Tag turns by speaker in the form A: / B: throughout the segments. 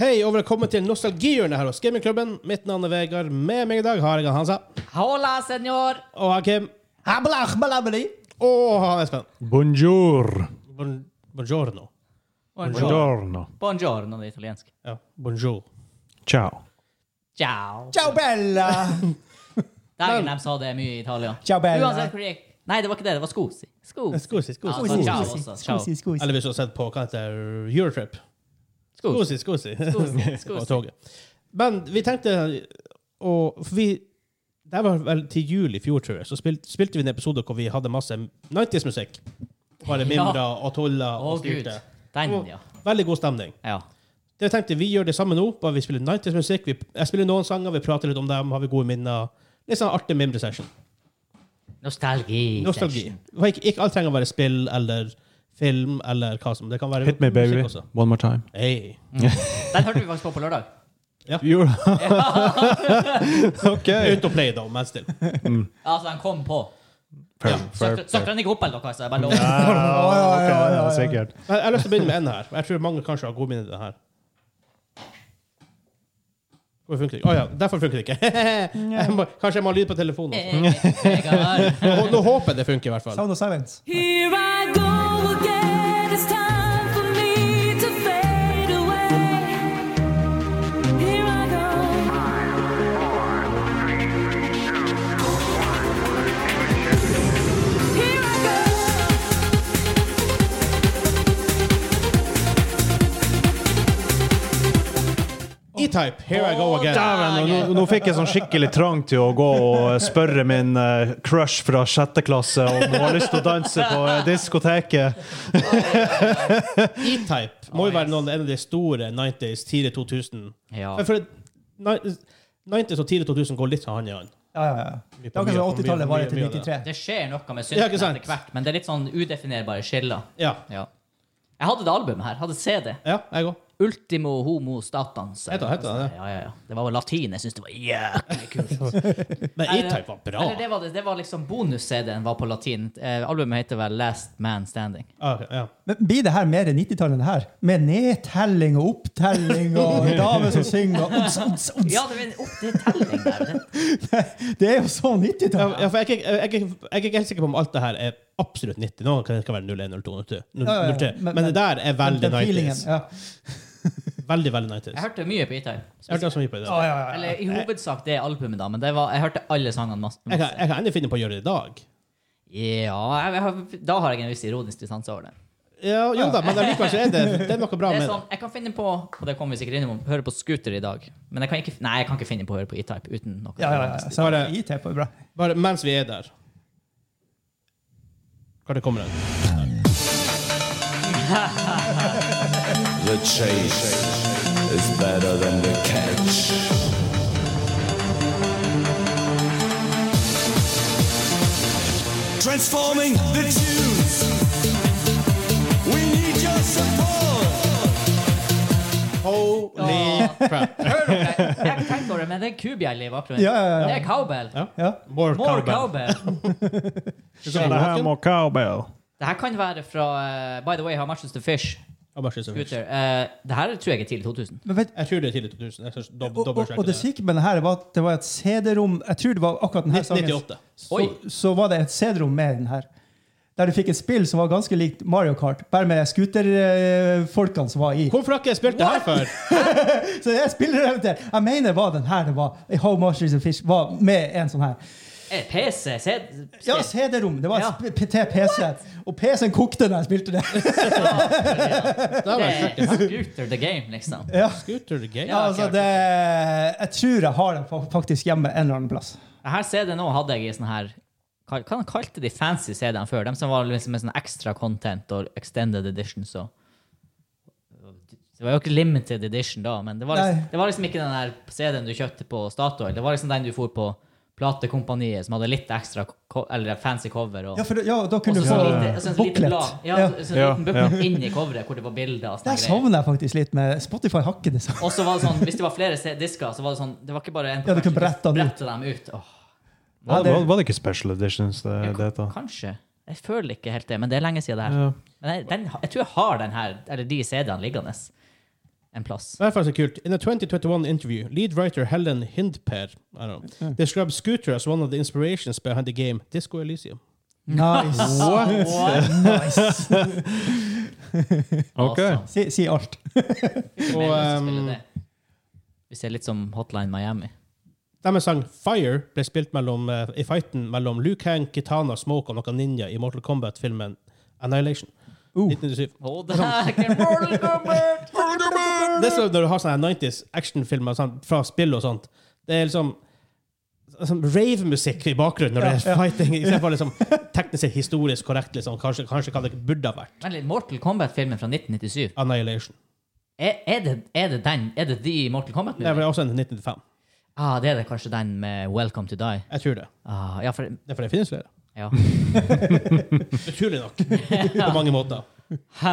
A: Hei og velkommen til Nostalgihjørnet her hos Gamingklubben. Mitt navn er Vegard. Med meg i dag har jeg han Hansa
B: Hola, senor!
A: og han Kim
B: Hablahablahabli.
A: og han Espen.
C: Bonjour.
A: Bon, buongiorno.
B: Buongiorno.
C: Buongiorno.
B: Buongiorno, det er italiensk.
A: Ja, bonjour.
C: Ciao.
B: Ciao.
D: Ciao Bella!
B: Dagen de sa det mye i Italia.
D: Ciao, Bella.
B: Uansett hvor det gikk. Nei, det var ikke det. Det var skosi. Skosi.
A: Scusi,
B: Ja,
A: scusi.
B: det var Ah, ciao
D: Skosi,
B: også. Ciao.
D: skosi, skosi.
A: Eller hvis du har sett på hva heter det, Eurotrip.
B: Skosi.
A: Scusi, scusi.
B: Skosi.
A: På
B: Skosi.
A: toget. Men vi tenkte å for vi, Det var vel til jul i fjor, tror jeg. Så spilte, spilte vi en episode hvor vi hadde masse 90s-musikk. Bare
B: Ja.
A: mimra og tulla
B: Å,
A: og
B: gud.
A: styrte.
B: Den,
A: Og-
B: ja.
A: Veldig god stemning.
B: Ja.
A: Det tenkte Vi gjør det samme nå, bare vi spiller 90s-musikk. Vi- Jeg spiller noen sanger, vi prater litt om dem, har vi gode minner. Litt sånn artig mimre-session.
B: Nostalgi.
A: Nostalgi. Det Ikke, ikke alt trenger å være spill eller film eller hva som Det kan være
C: Hit me, baby.
A: musikk også.
C: One more time.
A: Hey.
B: Den hørte vi faktisk på på lørdag.
C: You're OK.
A: Ut og play, da, men still.
B: Altså, den kom på.
C: Fair, fair,
B: Søkte
C: fair.
B: den ikke opp eller noe? Så jeg bare lå
C: Ah, ok, ja, sikkert.
A: Jeg jeg har lyst til å begynne med en her. og Jeg tror mange kanskje har gode minner til den her. Hvorfor funker det ikke? Å ja, derfor funker det ikke. Jeg må, kanskje jeg må ha lyd på telefonen. også.
B: Vegard.
A: Nå, nå håper jeg det funker, i hvert fall.
D: Sound of silence.
E: Here I go again. It's time for me to fade away. Here I go. Here I go.
A: E-type, here I go again.
C: Dæven, og nå, nå fikk jeg sånn skikkelig trang til å gå og spørre min eh, crush fra sjette klasse om hun har lyst til å danse på eh, diskoteket.
A: E-type må jo være noen, en av de store 90s, tidlig 2000.
B: Ja.
A: Men For, ni- 90s og tidlig 2000 går litt sånn hånd i hånd.
D: Ja, ja, ja. Det var
A: mye,
D: akkurat som
A: mye,
D: 80-tallet var
A: mye,
D: til
A: mye av det.
D: 93.
B: Det skjer noe med
A: Ja, ikke
B: synten
A: sant?
B: etter hvert, men det er litt sånn udefinerbare skiller.
A: Ja.
B: Ja. Jeg hadde det albumet her. Hadde CD.
A: ja jeg òg.
B: Ultimo homo statans.
A: Heter- heter det det?
B: Ja, ja, ja. Det var vel latin. Jeg syns det var jæklig kult.
A: Men E-type var bra.
B: Eller det var, det, det var liksom bonus-CD-en var på latin. Eh, albumet heter vel Last Man Standing.
A: Ah, ok, ja.
D: Men blir det her mer 90-tallet enn det her? Med nedtelling og opptelling og damer som synger og ods, ods, ods.
B: Ja, det var en opptelling der. Det,
D: Det er jo så
A: Ja,
D: 90-tall.
A: ja, for jeg, er ikke- jeg, er ikke- jeg er ikke helt sikker på om alt det her er absolutt 90. Noen kan det skal være 01, 02, 03.
D: ja, ja.
A: 03.
D: Men-
A: Men det der er veldig
D: Den feelingen,
A: 90s.
D: Ja.
A: Veldig, veldig 90s.
B: jeg hørte mye på E-Type.
A: Jeg hørte så mye på det.
D: Ja, ja, ja.
B: Eller i hovedsak det albumet, da, men det var, jeg hørte alle sangene masse.
A: Jeg kan,
B: masse.
A: jeg kan endelig finne på å gjøre det i dag.
B: Ja, jeg, jeg, har- da har jeg en viss ironisk distanse over det.
A: Ja, jo da, men allikevel så er det, det er noe bra
B: Det
A: med
B: er
A: det.
B: sånn, jeg kan finne på og det kommer vi sikkert innom, høre på Scooter i dag. Men jeg kan ikke, nei, jeg kan ikke finne på å høre på E-Type uten noe.
D: Ja, ja, ja. Så
A: Bare-
D: IT på bra.
A: Bare mens vi er der. Hva det kommer en?
F: The chase is better than the catch. Transforming the tunes. We need your support.
A: Holy crap.
B: Hør dere, jeg har ikke tenkt over det, men det er en kubjelle i bakgrunnen.
D: Ja, ja, ja.
B: Det er cowbell.
A: Ja.
D: Ja.
A: More,
B: More
A: cowbell.
B: cowbell.
C: Det her må cowbell.
B: Det her kan være fra eh, By the way, How Much Is The Fish?
A: Ja, bare skyt seg først.
B: Scooter. Eh, det her tror jeg er tidlig 2000.
D: Men vet,
A: Jeg tror det er tidlig 2000. Jeg skal dob
D: og, og,
A: dobbeltsjekke
D: og det
A: det.
D: syke med det her var at det var et CD-rom Jeg tror det var akkurat denne sangen.
A: 98.
B: Oi.
D: så, så var det et CD-rom med den her. Der du fikk et spill som var ganske likt Mario Kart, bare med scooterfolkene som var i.
A: Hvorfor har ikke jeg spilt det her før?
D: Så jeg spiller det der. Jeg mener var den her det var. How much is a fish var med en sånn her.
B: Eh, PC? Se,
D: Ja, CD-rom. Det var
B: Ja.
D: et sp- til PC. Og PC-en kokte da jeg spilte det.
A: Det
B: det
A: var
B: er Scooter eh, the game, liksom.
A: Scooter the Game.
B: Ja.
D: Altså, det, jeg tror jeg har den fa- faktisk hjemme en eller annen plass.
B: Det her CD-en nå hadde jeg i sånn her Hva hva kalte de fancy CD-ene før? De som var liksom med sånn ekstra content og extended editions og Det var jo ikke limited edition da, men det var liksom,
D: Nei.
B: det var liksom ikke den der CD-en du kjøpte på Statoil. Det var liksom den du for på platekompaniet, som hadde litt ekstra ko eller fancy cover. Og,
D: Ja, for, ja da
B: og
D: kunne
B: så
D: du
B: sånn
D: få
B: lite- sånn lite
D: booklet.
B: blad. Ja,
D: Ja. sånn.
B: så- sånn
C: Ja,
B: liten booklet inni coveret hvor det var bilder. og sånne
D: Der
B: greier.
D: sovner jeg faktisk litt med Spotify hakker det sånn.
B: Og så var det sånn, hvis det var flere se- disker, så var det sånn Det var ikke bare en
D: Ja, du kunne brette den ut.
B: dem ut. Åh,
C: Var det, var det ikke special editions det
B: ja,
C: det het? da?
B: kanskje. Jeg føler ikke helt det, men det er lenge siden det her.
C: Ja.
B: Men jeg, den, jeg tror jeg har den her, eller de CD-ene liggende. en plass.
A: I hvert fall så kult. In a 2021 interview, lead writer Helen Hindper I don't know, described Scooter as one of the inspirations behind the game Disco Elysium.
D: Nice. nice.
C: Ok.
B: Awesome.
D: Si, si alt.
A: Og
B: Mer lyst til å
D: um,
A: ehm,
B: spille det. Hvis det er litt som Hotline Miami.
A: deres sang Fire ble spilt mellom, eh, i fighten mellom Luke Hank, Kitana, Smoke og noen ninja i Mortal Kombat-filmen Annihilation.
D: Uh.
A: 1997.
B: Oh, det her er Mortal Kombat!
A: Det er sånn når du har sånne 90s actionfilmer sånn, fra spill og sånt. Det er liksom sånn rave-musikk i bakgrunnen når det er fighting, istedenfor liksom, teknisk sett historisk korrekt. Liksom. Kanskje, kanskje hva det burde ha vært.
B: Vent litt, Mortal Kombat-filmen fra 1997.
A: Annihilation.
B: Er, er, det, er det den? Er det de Mortal
A: Det er
B: Kombat-filmene?
A: vel også en 1995.
B: Ah, det er det kanskje den med Welcome to Die.
A: Jeg tror det.
B: Ah, ja, for
A: Det er for det finnes flere.
B: Ja.
A: Utrolig nok. På mange måter.
B: Hæ?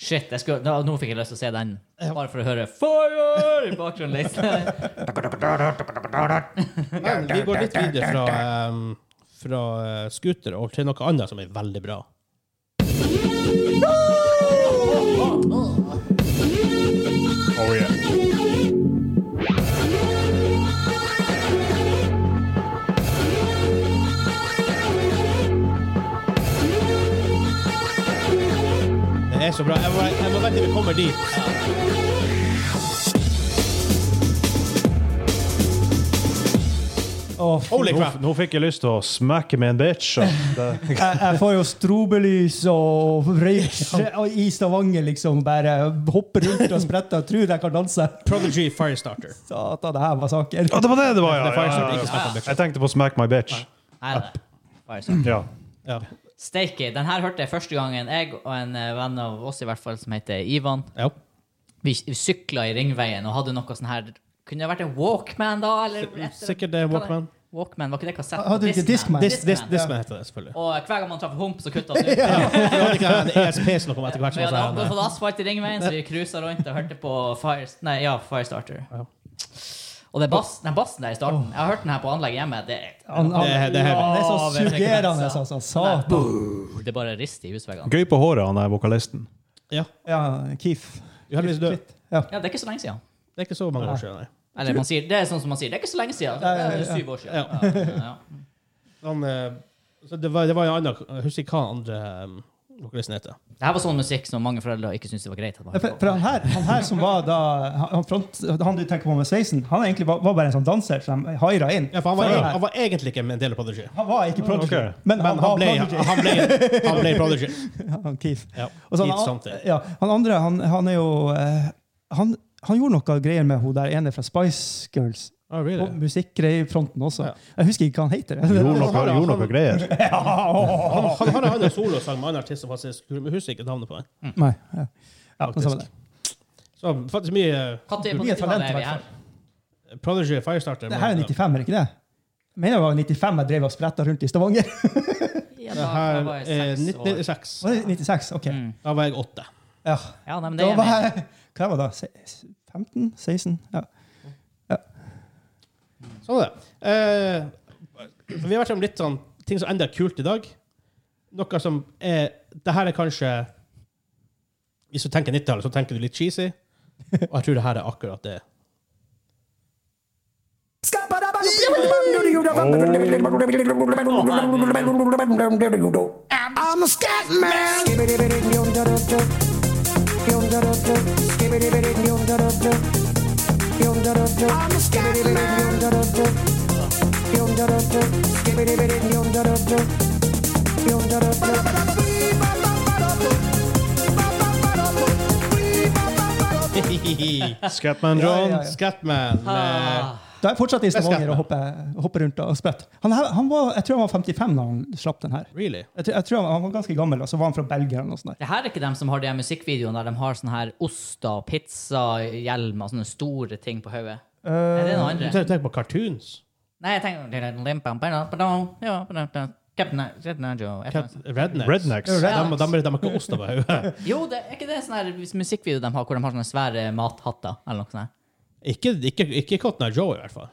B: Shit, jeg skulle, nå, nå fikk jeg lyst til å se den. Bare for å høre 'Fire!' i bakgrunnen. liksom.
A: Men vi går litt videre fra, ehm, fra eh, scooter og til noe annet som er veldig bra. Det er så bra. Jeg må, jeg må vente til vi kommer dit.
D: Å, fy.
A: Holy
C: Nå,
A: crap.
C: nå fikk jeg lyst til å smekke med en bitch. og Det,
D: jeg, jeg får jo strobelys og røyk og i Stavanger, liksom. Bare hopper rundt og spretter og tror jeg kan danse.
A: Prodigy Firestarter.
D: Satan, det her var saker.
C: Å, det var det det var,
A: Det er
C: ja! ja,
A: faktisk
C: ja,
A: ikke smack my
C: ja.
A: bitch.
C: Jeg tenkte på smack my bitch.
B: Nei, det. Bare sånn.
C: Ja.
A: Ja.
B: Steike. Den her hørte jeg første gangen jeg og en eh, venn av oss i hvert fall, som heter Ivan,
A: ja.
B: vi sykla i Ringveien og hadde noe sånn her Kunne det vært en Walkman da? Eller et eller annet?
A: Sikkert det er Walkman.
B: Walkman, Var ikke det kassett?
D: Hadde du ikke Discman?
A: This, this, this man heter det, selvfølgelig.
B: Og hver gang man traff hump, så kutta han ut.
A: Vi hadde ikke en ESP som kom etter hvert.
B: Vi hadde
A: som
B: akkurat
A: var sånn,
B: fått asfalt i ringveien, så vi cruisa rundt og hørte på Fire, nei, ja, Firestarter.
A: Ja.
B: Og det er bass, den bassen der i starten Jeg har hørt den her på anlegget hjemme. Det,
D: Han, han,
A: Det er- det er heavy.
D: han er så
B: Lave
D: suggerende,
B: frekvenser.
D: altså. Satan.
B: det er bare rister i husveggene.
C: Gøy på håret, han der vokalisten.
A: Ja.
D: Ja, Keef.
A: Uheldigvis død.
D: Ja.
B: Ja, det er ikke så lenge siden.
A: Det er ikke så mange år siden. nei.
B: Eller man sier, det er sånn som man sier, det er ikke så lenge siden. Det er syv år siden. Ja, ja.
A: Han, eh, så det, var, det var en annen Jeg husker ikke hva han andre um, vokalisten heter.
B: Det her var sånn musikk som mange foreldre ikke syntes det var greit. At man
D: For,
B: hørte
D: for
B: på.
D: han, her, han her som var da Han, front, han du tenker på med sveisen, han egentlig var, var bare en sånn danser som de haira inn.
A: Ja, for han, var, han var egentlig ikke en del av Prodigy.
D: han var ikke prodigy,
C: Ok.
D: men,
A: Men
D: han,
A: han
D: var
A: ble,
D: prodigy.
A: han ble, han ble Prodigy.
D: Han, Keith.
A: Ja.
D: Og så
A: Hit
D: Altså, han,
A: samtidig.
D: ja, han andre, han, han er jo eh, han, han gjorde noe greier med hun der ene fra Spice Girls.
A: Oh, really?
D: Og musikkgreier i fronten også.
A: Ja.
D: Jeg husker ikke hva han heter.
C: Gjorde noe, gjorde
D: altså.
C: noe greier.
A: Han, han har en annen solosang med en annen artist som faktisk men jeg husker ikke navnet på. den.
D: Nei, ja. Ja,
A: Faktisk.
D: samme det.
A: Så faktisk mye
B: Hva tid på
D: Mye talent,
B: 90-tallet er
D: i
B: vi
D: hvert
B: her?
A: eh, Prodigy Firestarter. eh,
D: det her er 95, er det ikke det? Jeg mener det var 95 jeg drev og spretta rundt i Stavanger.
B: Ja,
A: Det
B: da,
A: her
B: da var
A: er
B: jeg seks år.
A: 1996.
D: Var det 96? OK.
B: Mm.
A: Da var jeg åtte.
D: Ja.
B: Ja, nei, men det
D: Da
B: er
D: var
B: jeg med.
D: jeg, hva var det? Se- 15? 16? Ja.
A: Sånn er det. Eh, vi har vært om litt sånn ting som enda er kult i dag. Noe som er Det her er kanskje Hvis du tenker 90-tallet, så tenker du litt cheesy. Og jeg tror det her er akkurat det.
G: I'm a scat man. I'm a scat man.
C: Scatman
D: Ja, ja,
C: John.
D: ja.
A: Scatman med
D: Da er jeg fortsatt i
A: Jeg
D: Stavanger
A: skal-
D: og hopper, hopper rundt og spretter. Han, her- han var, jeg tror han var 55 da han slapp den her.
A: Really?
D: Jeg, tror- jeg tror han, han var ganske gammel, og så var han fra Belgia eller noe sånt. der.
B: Det her er ikke dem som har de her musikkvideoene der de har sånne her oster, pizza, hjelmer, sånne store ting på hodet. er det noe
A: Du
B: andre?
A: tenker tenker på cartoons?
B: Nei, jeg tenker Captain Captain Angel, et eller annet
A: Cat- Rednecks?
C: Rednecks.
A: De, de, de, de har ikke ost over hodet.
B: sånt. Jo, det, er ikke det en sånn her musikkvideo de har hvor de har sånne svære mathatter? eller noe sånt? her?
A: Ikke, ikke, ikke Cotton Eye Joe, i hvert fall.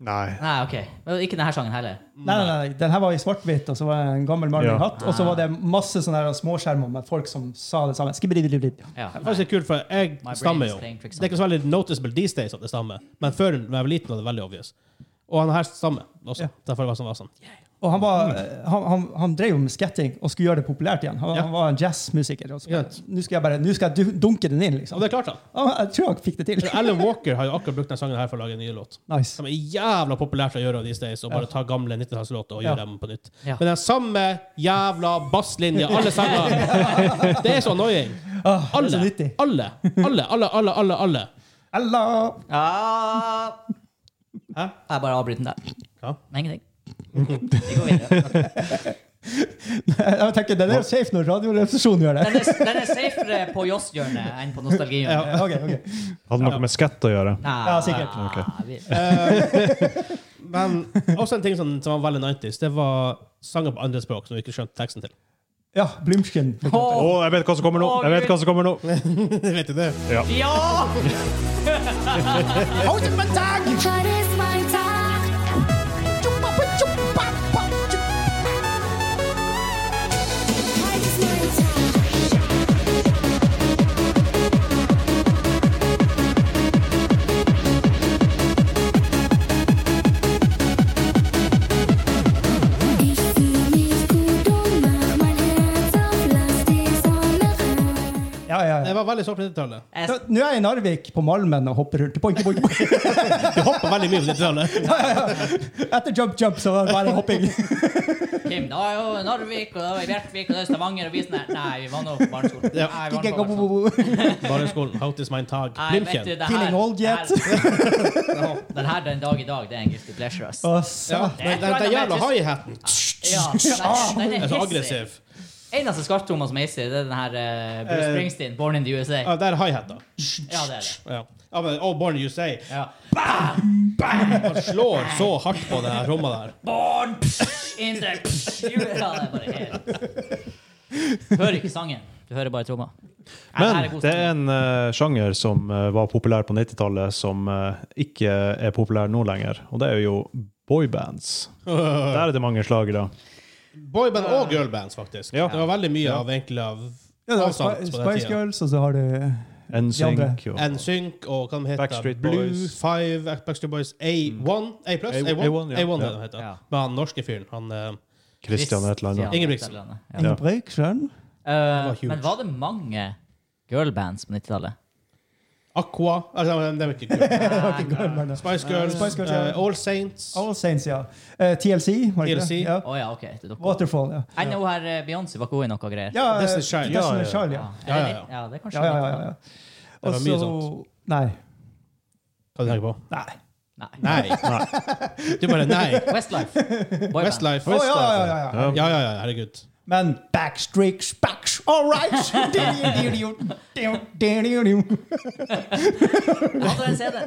C: Nei.
B: Nei, OK. Men ikke denne sangen heller.
D: Nei, nei, nei, den her var i svart-hvitt, og så var det en gammel mann
C: Ja.
D: med hatt. Og så var det masse sånne her småskjermer med folk som sa det samme. Skibidi-bidi-bidi.
B: Ja.
A: Det er faktisk kult, for jeg
B: brain
A: stammer
B: is
A: jo.
B: playing
A: Det
B: tricks on
A: er ikke så veldig noticeable these days at det stammer, men før da jeg var liten, var det veldig obvious. Og han her stammer også.
D: Ja.
A: Derfor var det sånn. Var sånn.
D: Og han, var, han, han, han drev jo med skatting og skulle gjøre det populært igjen. Han,
A: Mm. Ja.
D: han var en jazzmusiker. Og så,
A: Ja.
D: nå skal jeg bare nå skal jeg du- dunke den inn,
A: Og
D: liksom.
A: det klarte han.
D: Ja, Jeg tror han fikk det til.
A: Alan Walker har jo akkurat brukt den sangen her for å lage en ny låt.
D: Nice.
A: Som er jævla populært å gjøre these days, og bare
D: Ja.
A: ta gamle 90-tallslåter og
D: Ja.
A: gjøre dem på nytt.
B: Ja.
A: Men den samme jævla basslinja, alle sanger. Det er så annoying.
D: Ah, det er så
A: Alle.
D: nyttig.
A: Alle. Alle, alle, alle, alle. alle.
D: Ella.
B: Ah.
A: Hæ?
B: Jeg bare avbryter den der.
A: Ja.
B: Med ingenting. Vi går videre.
D: Jeg tenker, Den er jo safe når Radioresepsjonen gjør det.
B: Den er, den er safere på Joss-hjørnet enn på nostalgihjørnet.
D: Ja, ok, ok.
C: Hadde noe med skett å gjøre.
B: Nei,
D: Ja, sikkert.
B: vi-
A: Men også en ting som, som var veldig 90s, det var sanger på andre språk som vi ikke skjønte teksten til.
D: Ja, Blumsken.
C: Å,
B: Åh,
C: jeg vet hva som kommer nå! Jeg vet hva som kommer nå.
A: Vet du det?
B: ja!
E: That is my time. That is my time. Ich fühl mich gut und mach mein Herz auf, lass die Sonne rein.
D: Ja, ja,
A: Det
D: ja.
A: var veldig sånn på 90-tallet.
B: Jeg,
D: Da, nå er jeg i Narvik, på Malmen, og hopper rundt. Boink, boink, boink.
A: Det hoppa veldig mye på 90-tallet.
D: Etter jump, jump, så var det bare hopping.
B: Kim, da er jo Narvik, og da er Bjerkvik, og da er Stavanger, og vi er sånn her Nei, vi var nå på barneskolen.
A: Ja.
B: Nei, vi var nå på barneskolen.
D: Kikk-kikk-kop-kop-kop.
A: Barneskolen, Houtis Mein Tag,
B: Nei, vet du,
A: Blimken.
B: det her-
D: Feeling old yet.
B: det her- Den her den dag i dag, det er en guilty pleasure, ass.
D: Å,
A: Ja,
D: satan.
A: den, den, den jævla hi-haten
B: Ja, den, den
A: er
B: er
A: så
B: hissig.
A: aggressiv.
B: Eneste skarptromma som er hissig, det er den her eh,
A: Eh,
B: Bruce Springsteen, Born in the USA.
A: Ja, der er hi-hat, da.
B: Ja, det er det.
A: Ja. ja men, oh, Born in USA.
B: Ja.
A: Han slår så hardt på det her rommet der.
B: Born in the Ja, det er bare helt Du hører ikke sangen, du hører bare tromma. Nei, det her
C: Men
B: god
C: det er
B: stemning.
C: en eh, sjanger som eh, var populær på 90-tallet, som eh, ikke er populær nå lenger. Og det er jo boybands. Der er det mange slag i dag.
A: Boyband og girlbands, faktisk.
C: Ja.
A: Det var veldig mye av egentlig av
D: Ja, det var
A: avstand
D: Spi-
A: på den
D: Spice
A: tida.
D: Girls, og så har du
C: NSYNC og
A: NSYNC og hva de heter
C: Backstreet
A: Blue,
C: Boys. Mm.
A: Five, Backstreet Boys, A1 A+,
C: A-
A: A1,
C: A1,
A: A1,
C: ja.
A: er det
C: Ja.
A: de heter.
B: Ja.
A: Med han norske fyren. Han eh,
C: Christian et eller annet.
A: Ingebrigtsen.
B: Ja.
D: Inge Breiksjøen.
B: Eh,
A: var huge.
B: men var det mange girlbands på 90-tallet?
A: Aqua altså, de, de er ikke kule.
D: Girl,
A: Spice Girls,
D: Spice Girls, ja.
A: eh, All Saints,
D: All Saints, ja. Eh, TLC, var det ikke
A: TLC.
D: det? Ja.
B: Å ja, OK. Det er dere.
D: Waterfall, ja.
B: Jeg know her eh, Beyoncé var god i noe greier.
D: ja eh,
A: Destiny's Child.
D: Destiny's
C: Ja, ja, ja.
D: Child, ja.
A: Ja, ja,
B: Ja, er
A: ja.
B: litt- ja, det er kanskje
D: Ja, ja, ja. ja, ja.
A: Det var
D: Og
A: mye
D: så Nei.
A: hva tenker du på?
D: Nei.
B: Nei.
A: Nei. Du bare nei.
B: Westlife. Boyband.
A: Westlife.
D: Å, ja, ja, ja, ja.
A: Ja, ja, ja, herregud.
D: Men backstreaks, backs, all right! Du
B: Hadde en CD.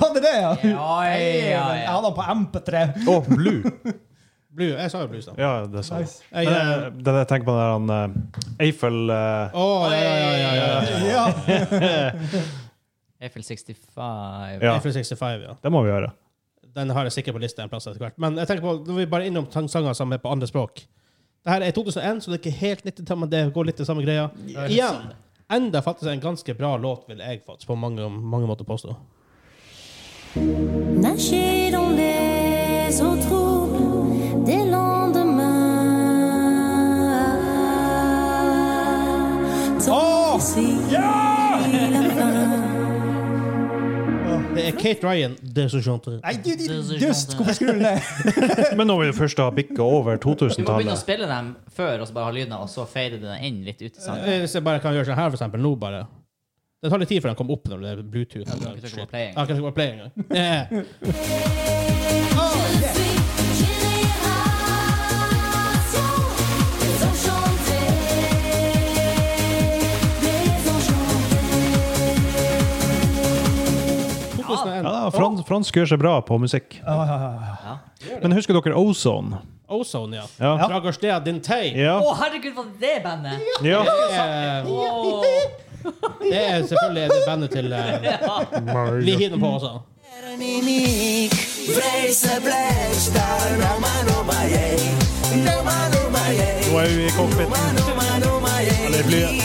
D: hadde det, ja?
B: Ja, ja, ja, ja.
D: Jeg hadde den på MP3.
C: Og Blue!
A: Blue, jeg sa jo Blues, da.
C: Ja, det sa jeg.
D: Nice.
A: Jeg,
C: Men,
A: eh,
C: eh, det jeg tenker på, den der han, eh, Eiffel eh,
A: Å, ja, ja, ja, ja, ja, ja.
D: Ja.
B: Eiffel 65.
C: Ja,
A: Eiffel 65, ja.
C: det må vi gjøre.
A: Den har jeg sikkert på lista en plass etter hvert. Men jeg tenker på, når vi bare er innom tang- sanger som er på andre språk Det her er 2001, så det er ikke helt 90-tall, men det går litt den samme greia. Igjen! Enda faktisk en ganske bra låt, vil jeg faktisk på mange, mange måter påstå.
E: Nager dans les eaux troubles des lendemains. Tant ici la fin.
A: Det er Kate Ryan, det som chanter.
D: Nei, du, du, dust! Hvorfor skrur du ned?
C: Men når vi først har bikka over
B: Du må begynne å
C: 2000-tallet
B: spille dem før, og så bare ha lyden av, og så fader du den inn litt ut i sangen.
A: Hvis jeg bare kan gjøre sånn her, for eksempel, nå bare Det tar litt tid før den kommer opp når det er Bluetooth. Ja,
B: kan ikke trykke på play engang.
A: kan ikke bare play engang. Eh,
E: Je suis génération des enchantés, des enchantés.
A: 2001.
C: Ja, frans, fransk gjør seg bra på musikk. Men husker dere Ozone?
A: Ozone, ja.
C: Ja.
A: Dragostea Dintei.
C: Ja.
B: Å, herregud, var det det bandet?
C: ja.
A: Eh,
B: Åh.
A: det er selvfølgelig det bandet til eh,
B: Ja.
A: Vi hinner på også.
E: Mimique.
G: Blaze, blaze, star, no man, no my, yeah. No man, no my, yeah.
C: Nå er vi i cockpiten.
G: Mano, mano, mai e
C: Alle flyet.
G: i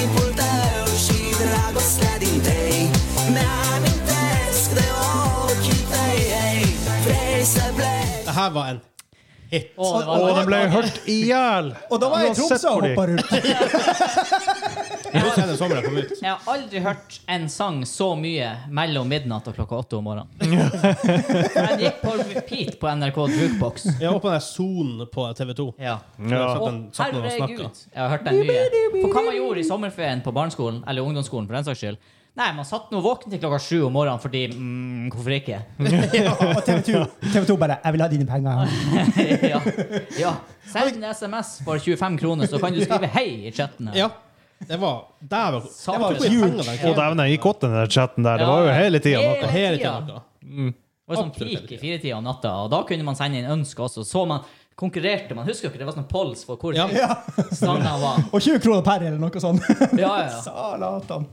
G: și dragostea din tei Mi-amintesc de ochii tăi ei. Vrei să pleci
A: Det her var en hit.
B: Å, det
C: Og
B: var,
C: den ble hørt i hjel!
D: Og da var jeg i
C: Uansett
D: Tromsø og
C: hvor de-
D: hoppa rundt.
A: Jeg husker den sommeren kom ut.
B: jeg har aldri hørt en sang så mye mellom midnatt og klokka åtte om morgenen. Den gikk på repeat på NRK Jukebox.
A: Jeg var på den der sonen på TV2.
B: Ja.
C: Ja.
A: Satt
B: Å,
A: den, satt den og
B: herregud.
A: snakket.
B: Jeg har hørt den mye. For hva man gjorde i sommerferien på barneskolen, eller ungdomsskolen for den saks skyld Nei, man satt nå våken til klokka sju om morgenen fordi mm, Hvorfor ikke?
D: Og TV2, TV2 bare 'Jeg vil ha dine penger'.
B: ja. ja. Send en SMS for 25 kroner, så kan du skrive 'hei' i chatten. her.
A: Ja. Det var Dæven.
B: Satan.
A: Jeg tok igjen penger den
C: Å,
A: kvelden.
C: dæven, det gikk godt, den der chatten der. Det var jo hele tida noe.
A: Hele tiden noe.
B: Det var sånn
A: Absolutt
B: peak
A: hele
B: i firetida om natta, og da kunne man sende inn ønsker også. Så man konkurrerte man. Husker dere det var sånn pols for hvor
A: Ja.
B: stanga var?
D: Og 20 kroner per, eller noe sånt.
B: Ja, ja, ja.
D: Salatan.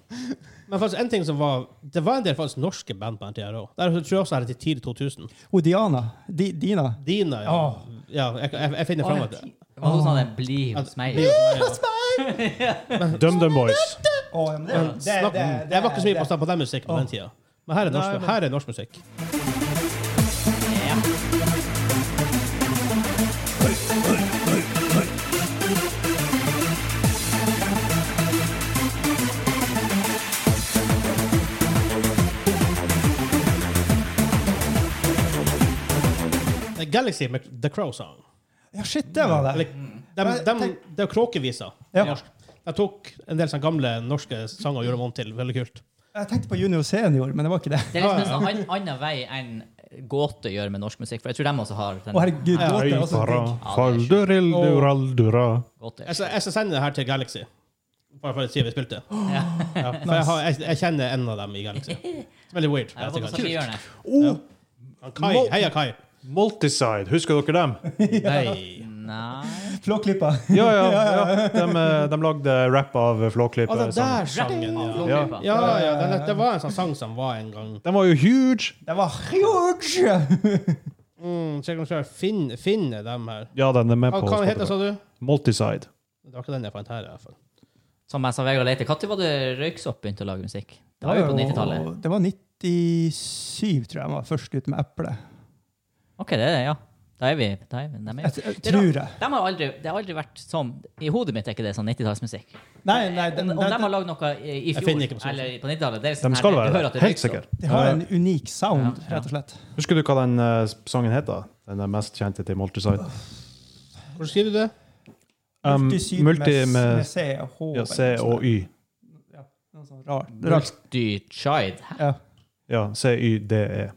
A: Men faktisk, en ting som var Det var en del faktisk norske band på den tida òg. Der tror jeg også er det til tidlig 2000.
D: Hun Diana. Di, Dina.
A: Dina, ja.
D: Åh.
A: ja jeg, jeg, jeg finner
B: Å,
A: fram
B: men
A: at
B: ti- Det var noe sånn at det blir hos meg.
C: DumDum Boys.
D: Å, ja, men det, Eh, det,
A: Snakk- Jeg var ikke så mye på stand på den musikken på den tida. Men her er norsk, her er norsk musikk. Det er Galaxy med The Crow Song.
D: Ja, shit, det var det.
A: Eller, de,
D: Mm. Men
A: de,
D: tenk-
A: det er jo kråkeviser.
D: Ja.
A: Norsk. De tok en del sånne gamle norske sanger og gjorde dem om til. Veldig kult.
D: Jeg tenkte på junior senior, men det var ikke det.
B: Det er liksom en sånn an- annen vei enn gåte gjør med norsk musikk, for jeg tror de også har
D: Å,
B: den
D: herregud. låt
C: Hei,
D: er også
C: para,
D: digg.
C: faldurilduraldura.
B: gåte.
A: Jeg skal, jeg skal sende det her til Galaxy. Bare for å si vi spilte. Ja, for jeg, har, jeg, jeg kjenner en av dem i Galaxy. Veldig weird.
B: Jeg har fått samme hjørne.
A: Han Kai, Heia Kai.
C: Multiside, husker dere dem?
A: Hei.
B: Nei
D: Flåklippa.
C: Ja, ja. ja. Altså, De, eh, de lagde rap av
A: Å,
C: Flåklypa.
D: Altså,
A: den der sangen, ja.
B: Blåklypa.
A: Ja, ja, den, det var en sånn sang som var en gang.
C: De var jo huge.
D: Det var huge!
A: Mm, så jeg kan se, Finn, finne dem her. Ah,
C: Ja, den er med
A: Hva
C: på
A: hva heter den, sa
C: Spotify.
A: du?
C: Multiside.
A: Det var ikke den jeg fant her. i hvert fall.
B: Som jeg sa, Vegard Leite, når var det Røyksopp begynte å lage musikk? Det var jo på 90-tallet.
D: Det var 97, tror jeg, han var først ute med eplet.
B: Ok, det er det, ja. Da er vi, da er vi de er
D: Jeg, jeg
B: Det er da-
D: tror jeg.
B: De har aldri, det har aldri vært sånn I hodet mitt er ikke det sånn 90-tallsmusikk.
D: Nei, nei, den,
B: Om, om de
D: den,
B: har lagd noe i i fjor
A: finner ikke på sånn.
B: eller på 90-tallet det er
C: De
B: sånn her,
C: skal
B: du
C: være
B: hører at
C: det.
B: det
C: Helt
B: ryker opp.
C: sikker.
D: de har en unik sound, rett og slett.
C: Husker du hva den eh, sangen het, da? Den er mest kjente til Multiside.
A: Hvordan skriver du det?
C: Um,
D: Multisyd
C: multi
D: med, med
C: med
D: C og H.
C: ja, C og Y.
D: Noe sånt rart. rart.
B: Multichide.
D: Ja.
C: Ja, C-Y-D-E.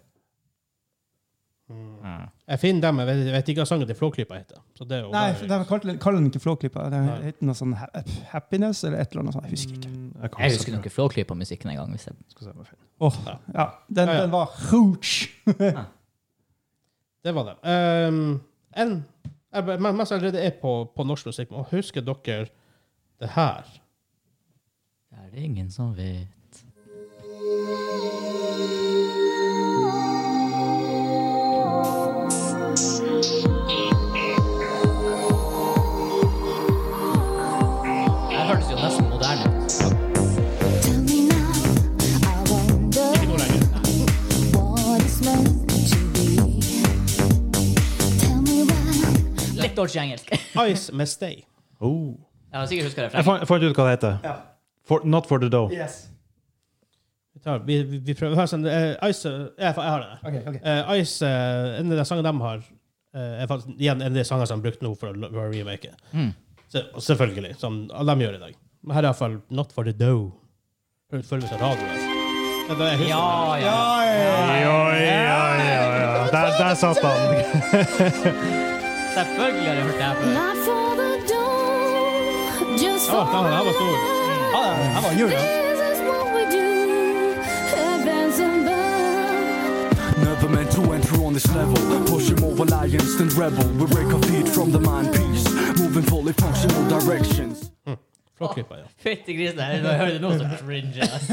A: Jeg finner dem, jeg vet, jeg vet ikke hva sangen til Flåklypa heter. Så det er jo
D: Nei, de kaller kaller den ikke Flåklypa. Det heter noe sånn ha- Happiness eller et eller annet sånt. Jeg husker
A: Mm.
D: ikke.
C: Jeg kan
B: Jeg husker
C: se-
B: noe Flåklypa-musikken en gang. Hvis jeg,
C: skal se om jeg finner.
D: Åh, ja. Den,
A: Ja, ja.
D: den var huge!
A: Det var det. Ehm, en, jeg, bare- men mens jeg allerede er på, på norsk musikk, må huske dere det her.
B: det er det ingen som vet. Det her hørtes jo nesten moderne ut.
H: Tell me now, I wonder what is meant to be. Tell me why.
B: Litt dårlig engelsk.
A: Ice med Stay.
C: Oh.
B: Jeg har sikkert huska
C: Jeg
B: refrenget.
C: fant, jeg fant ut hva det heter. For, not for the dough.
D: Yes.
A: Vi, tar, vi, vi, vi prøver. Her, sånn, eh, Ice eh, Jeg, jeg har det. der.
D: Ok, ok.
A: Eh, Ice, eh, En av de sangene de har, eh, er faktisk igjen en av de sangene som de brukte nå for å, lo- for å remake.
B: Mm.
A: Så, og selvfølgelig, som alle de gjør i dag. Men her er iallfall Not for the Dough. Følger seg radio. der. Ja, det er-
B: Ja, ja.
C: Ja, ja, ja, ja. Der, der satt han.
B: Selvfølgelig har jeg hørt det her før.
H: Not for the dough, just
A: Ja,
H: for
A: faen, den her var
H: the
A: stor.
D: Ja, det var jul, da.
H: This is what we do. Heavens above.
F: Never meant to enter on this level. Pushing over lions than rebel. We break our feet from the mind piece. Moving fully functional directions.
A: Flåklypa, ja.
B: Fytti grisen, jeg når jeg hører det nå, så cringer jeg. ass.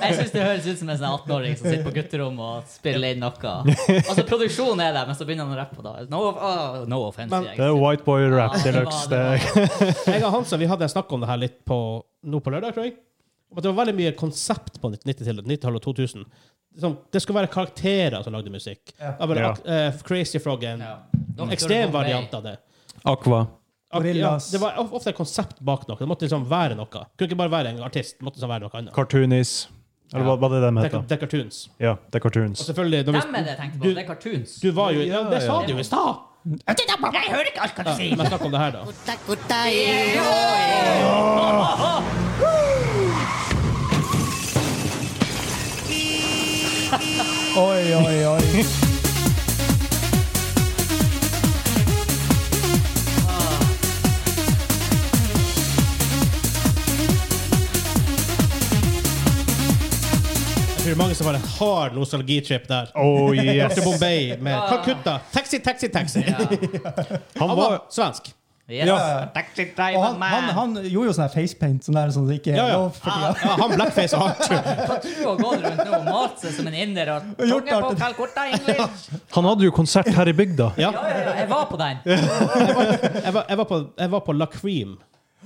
B: Jeg syns det høres ut som en sånn 18-åring som sitter på gutterommet og spiller inn noe. Altså, produksjonen er der, men så begynner han å rappe. da. No, oh, no offense.
A: Men-
B: jeg.
C: Det er white boy rap
B: Ja, det var-
C: deluxe.
B: det var-
C: Det-
A: Jeg og Hansa vi hadde en snakk om det her litt på, nå på lørdag, tror jeg. Om at det var veldig mye konsept på 90-tallet 90-tallet og 2000. Sånn, det skulle være karakterer som lagde musikk.
D: Ja.
A: Det var vel
C: Ja.
A: ak- eh, Crazy Frog er en
B: Ja. Dr.
A: ekstrem
B: Bombay.
A: variant av det.
C: Aqua.
A: Ak- Ja,
D: Gorillas.
A: det var of- ofte et konsept bak noe. Det måtte liksom være noe. Kunne ikke bare være en artist. Det måtte liksom være noe annet.
C: Cartoonies. Eller hva, hva det de
A: Det er-
C: heter?
A: det er cartoons.
C: Ja, det er
A: Og
C: cartoons.
A: selvfølgelig når vi-
B: Dem er det jeg tenkte på. Det er cartoons.
A: Du var jo ja, Det sa
C: ja.
A: du jo i stad!
B: Jeg hører ikke alt hva du
A: Ja,
B: sier!
A: men snakk om det her, da.
D: Oi, oi, oi.
A: Jeg tror mange som har en hard nostalgitrip der.
C: Oh
A: Dr.
C: yes.
A: Bombay med Calcutta. Taxi, taxi, taxi.
C: Han
A: Han
C: var
A: var svensk.
B: Yes.
C: Ja.
B: Taxi
D: Og
B: driver
D: han, han,
B: man.
D: han gjorde jo sånn her facepaint, sånn der som det ikke er
A: Ja, Ah. ja.
D: lov for tida.
A: Ja, han blackface og han
B: Du har gått rundt nå og malt seg som en inder og
D: Og gjort
B: tunge på
D: alt det-
B: Calcutta English.
C: Han hadde jo konsert her i bygda.
A: ja.
B: Ja, ja, ja, jeg var på den.
A: jeg, var, jeg, var på, jeg var på La Cream.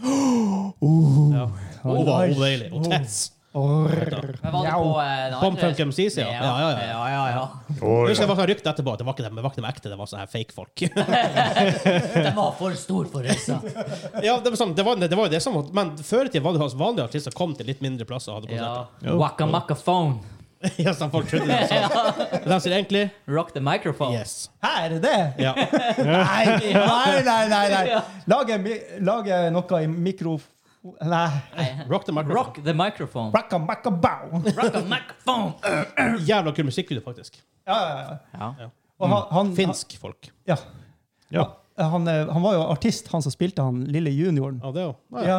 C: Oh.
A: Ja. Hun var
D: Oi.
A: odeilig. Og tets.
D: Orr.
B: Men var det på eh, den andre-
A: Bomb Funk MCs, ja. Ja, ja, ja.
B: Oh. ja, ja, ja.
A: Jeg husker Det var sånn rykte etterpå at det var ikke dem, det var ikke dem ekte, det var sånne her fake folk.
B: Den var for stor for russa.
A: ja, det var, sånn, det var, det var jo det som var, Men før i tiden var det jo hans vanlige artister som kom til litt mindre plasser og hadde
B: Ja.
A: konserter.
B: Waka maka phone.
A: Ja. sånn folk trodde det var sånn. Men de sier egentlig
B: Rock the microphone.
A: yes.
D: Her er det!
A: Ja.
D: Nei, nei, nei. nei, nei. Lage, mi- lage noe i mikro... Nei.
A: Rock the microphone.
B: Rock the microphone.
D: Backa, backa, bow.
B: Rock a microphone.
A: Jævla kul musikkvideo, faktisk.
D: Ja, ja, ja.
B: Ja.
D: Og han, han,
A: Finsk folk.
D: Ja.
C: Ja.
D: Han, eh, han var jo artist, han som spilte han lille junioren.
A: Ja, det er jo. Ja, ja.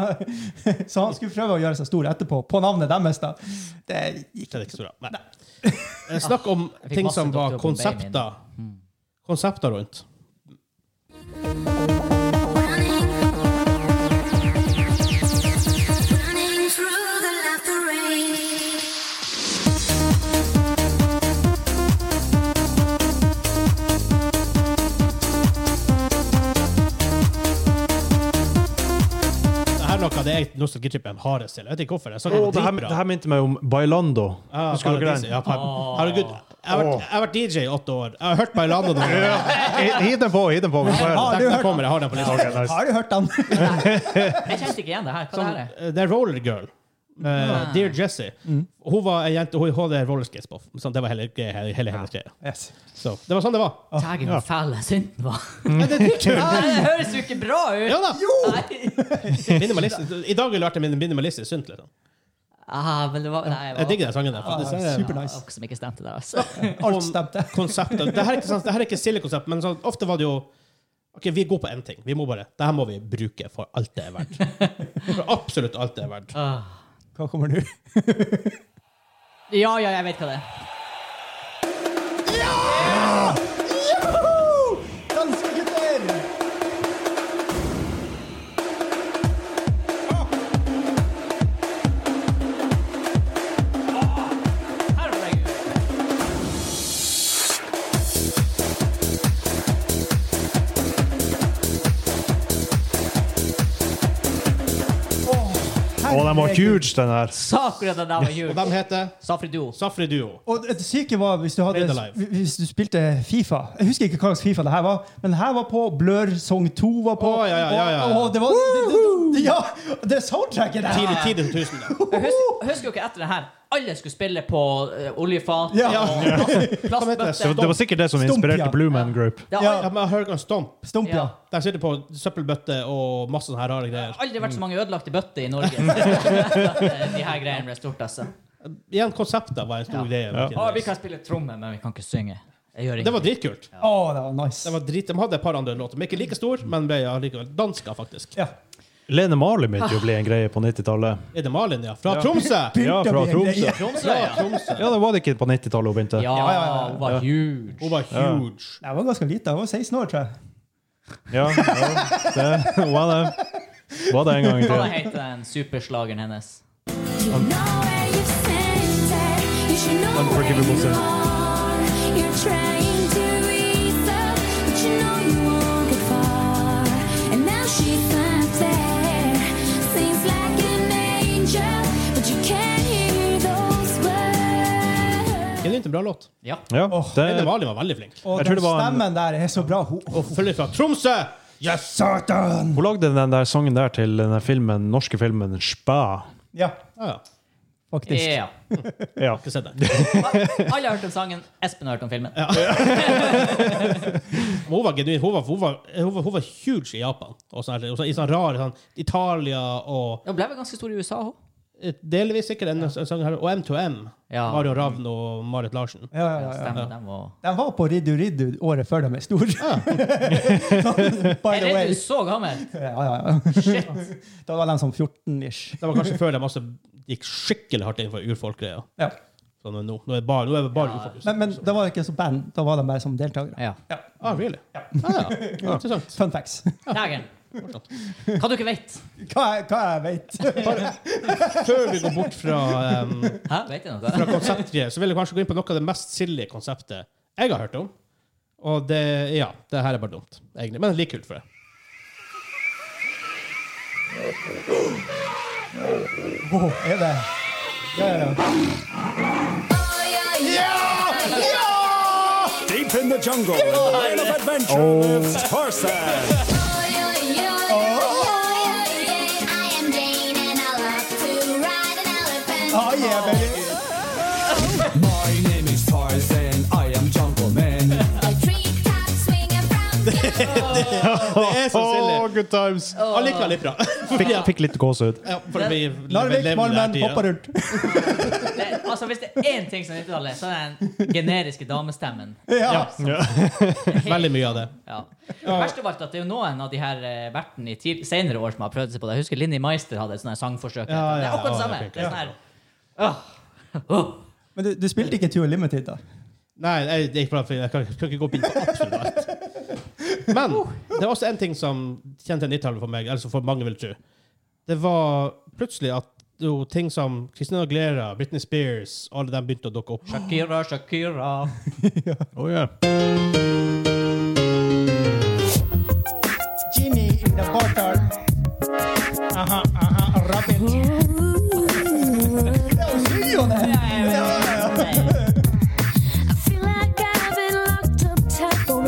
D: Ja. Så han skulle prøve å gjøre seg stor etterpå, på navnet deres. da. Det gikk
A: Det er ikke så bra. Nei. Eh, Snakk om
B: fikk
A: ting
B: masse
A: som var
B: Dr. Bombay
A: konsepter. Konsepter rundt.
H: Running through the laughter rain.
A: Det her er noe av det jeg nostalgitrippen hardest til. Jeg vet ikke hvorfor. Jeg sa det
C: Oh,
A: var
C: det, her,
A: dritbra.
C: det her minte meg om Bailando.
A: Ja,
C: Husker dere
A: Paradise,
C: den?
A: ja, par- Herregud. Jeg har, vært, jeg har vært DJ i åtte år. Jeg har hørt Bailando noen ganger.
C: Hi- Hiv den på, hiv den på. Vi får høre.
D: Har
A: Ah,
D: du
A: Den
D: hørt,
A: kommer, jeg har den på lista.
C: Ok, nice.
D: har du hørt han?
B: Jeg kjente ikke igjen det her. Hva det her er
A: Eh, Det er Roller Girl. Eh, Dear Jessie. Hun var ei jente, hun hadde rollerskates på. Sånn, det var hele, greia- hele, hele hennes greie.
D: Yes.
A: Så det var sånn det var.
B: Tægen, hvor fæl den synten var.
A: Ja, det er dritkult.
B: Ah, Nei, Det høres jo ikke bra ut!
A: Ja da!
B: Nei.
A: Minimalist- I dag ville det vært en minimalistisk synt. Liksom.
B: Ah, men det var, nei, det
A: Jeg
B: var
A: digger den sangen der. faktisk. Det er-
D: Super
B: det var
D: nice.
B: noe som ikke stemte der, altså.
D: Alt stemte.
A: konseptet. Det her er ikke, sant, det her er ikke stille konsept, men sånn, ofte var det jo Ok, vi er gode på én ting. Vi må bare, det her må vi bruke for alt det er verdt. For absolutt alt det er verdt.
D: Hva kommer nå?
B: Ja, ja, jeg vet hva det er.
D: Joho! Danske gutter!
B: Herregud.
C: Å, den var huge, den her.
B: Sakura den der var
A: Og
B: jul.
A: de heter
B: Safri Duo.
A: Safri Duo.
D: Og det syke var hvis du, hadde,
A: Made Alive.
D: hvis du spilte Fifa Jeg husker ikke hva slags Fifa det her var, men det her var på Blur Song 2 var på.
A: Å, ja, ja, ja, ja.
D: Og, og det var det, det, det, Ja! Det er soundtracket der!
A: Tidlig tidlig 2000. da.
B: Jeg husker, husker jo ikke etter det her. Alle skulle spille på eh, oljefat
D: Ja.
B: og plast, plastbøtter.
C: Det var, det var sikkert det som inspirerte
D: Stump, ja.
C: Blue Man Group.
B: Det har
D: Ja.
A: Ja, men Hurricane Stomp.
D: Stump, ja.
A: Der sitter på søppelbøtte og masse sånne her rare greier.
B: aldri vært så mange ødelagte bøtter i Norge. eh, De her greiene ble stort, altså.
A: Igjen, konsepter var en stor
B: Ja.
A: greie.
B: Å, vi kan spille tromme, men vi kan ikke synge. Jeg
A: Det
B: gjør
A: var
B: ingenting.
A: dritkult.
D: Å, det var nice.
A: Det var drit, de hadde et par andre låter, men ikke like stor, men ble allikevel danska, faktisk.
D: ja.
C: Lene Marley begynte jo å bli en greie på 90-tallet.
A: Er det Malin, ja? Fra Tromsø!
C: Ja, fra Tromsø.
B: Tromsø, ja.
A: Tromsø.
C: Ja, det var det ikke på 90-tallet hun begynte.
B: Ja, hun var huge.
A: Hun var huge.
D: Jeg var ganske liten. Jeg var 16 år, tror jeg.
C: Ja, ja. Det, well, eh, Var det en gang
B: Hva
C: til?
B: heter den superslageren hennes?
C: Unforgivable sin.
A: Genuint en bra låt.
B: Ja.
C: Ja, det,
A: Lene Malin var veldig flink.
D: Og
C: Jeg tror
D: den
C: det var en-
D: stemmen der er så bra. Hun,
A: Og følger fra Tromsø! Yes!
D: Satan!
C: hun lagde den der sangen der til den der filmen, norske filmen Spa.
D: Ja,
A: Ja, ja.
D: faktisk.
B: ja.
C: Ja.
A: Ikke sett det.
B: Alle har hørt om sangen, Espen har hørt om filmen.
A: Men Hun var genuin. Hun var, hun var, hun var, hun var huge i Japan. Og sånn, her- og så- I sånn rar sånn, Italia og
B: Hun ble vel ganske stor i USA òg.
A: eh, Delvis sikkert en, en sang her. Og M2M.
B: Ja.
A: Mario Ravn og Marit Larsen.
D: Ja, ja, ja.
B: Stemmer, den var
D: De var på Riddu Riddu året før de er store. By
B: Er
D: the way.
B: det du så gammel?
D: Ja, ja, ja. Da var de sånn som 14-ish.
A: Det var kanskje før de også gikk skikkelig hardt inn for urfolkgreia.
D: Ja.
A: Sånn nå. Nå er det bare, nå er det bare urfolk.
D: Men, men da var det ikke så band, da var de bare som deltakere.
B: Ja.
A: Ah, really? Ah, ja. Interessant.
D: Fun facts.
B: Dagen. Hva du ikke vet?
D: Hva, jeg- hva jeg vet.
A: Før vi går bort fra, um,
B: Hæ? Vet jeg noe?
A: fra konseptgreier, så vil jeg kanskje gå inn på noe av det mest silly konseptet jeg har hørt om. Og det Ja, det her er bare dumt, egentlig. Men like kult for det.
D: Wow, er det? Ja, ja, ja.
F: Deep in the jungle, in the land of adventure lives Tarzan.
D: Ah, yeah, baby.
F: My name is Tarzan, I am jungle man.
A: Det er så
C: Åh,
A: silly.
C: good times!
A: Allikevel litt bra.
C: Fikk, fikk litt gåsehud.
A: Ja, for å bli
D: Larvik,
A: levende her
D: Malmen,
A: tida.
D: hopper rundt.
B: Det, altså, hvis det er én ting som er 90-tallet, så er det den generiske damestemmen.
D: Ja.
A: Veldig mye av det.
B: Ja. Verst av alt at det er jo noen av de her eh, vertene i tid, senere år som har prøvd seg på det. Jeg husker Linni Meister hadde et sånt her sangforsøk.
A: Ja,
B: det
A: ja,
B: er akkurat det
A: ja,
B: samme.
A: det fikk
B: Det er sånn her, åh,
D: Men du, du spilte ikke Tour Limited, da?
A: Nei, jeg, det er ikke bra, for jeg kan, kan ikke gå opp inn på absolutt alt. Men det er også en ting som kjente 90-tallet for meg, eller som for mange vil tro. Det var plutselig at jo, ting som Christina Aguilera, Britney Spears, alle dem begynte å dukke opp.
B: Shakira, Shakira.
C: Oh, yeah.
D: Genie in the bottle. Aha, aha, rabbit. Det er jo eh. mye av det. Ja, ja, ja.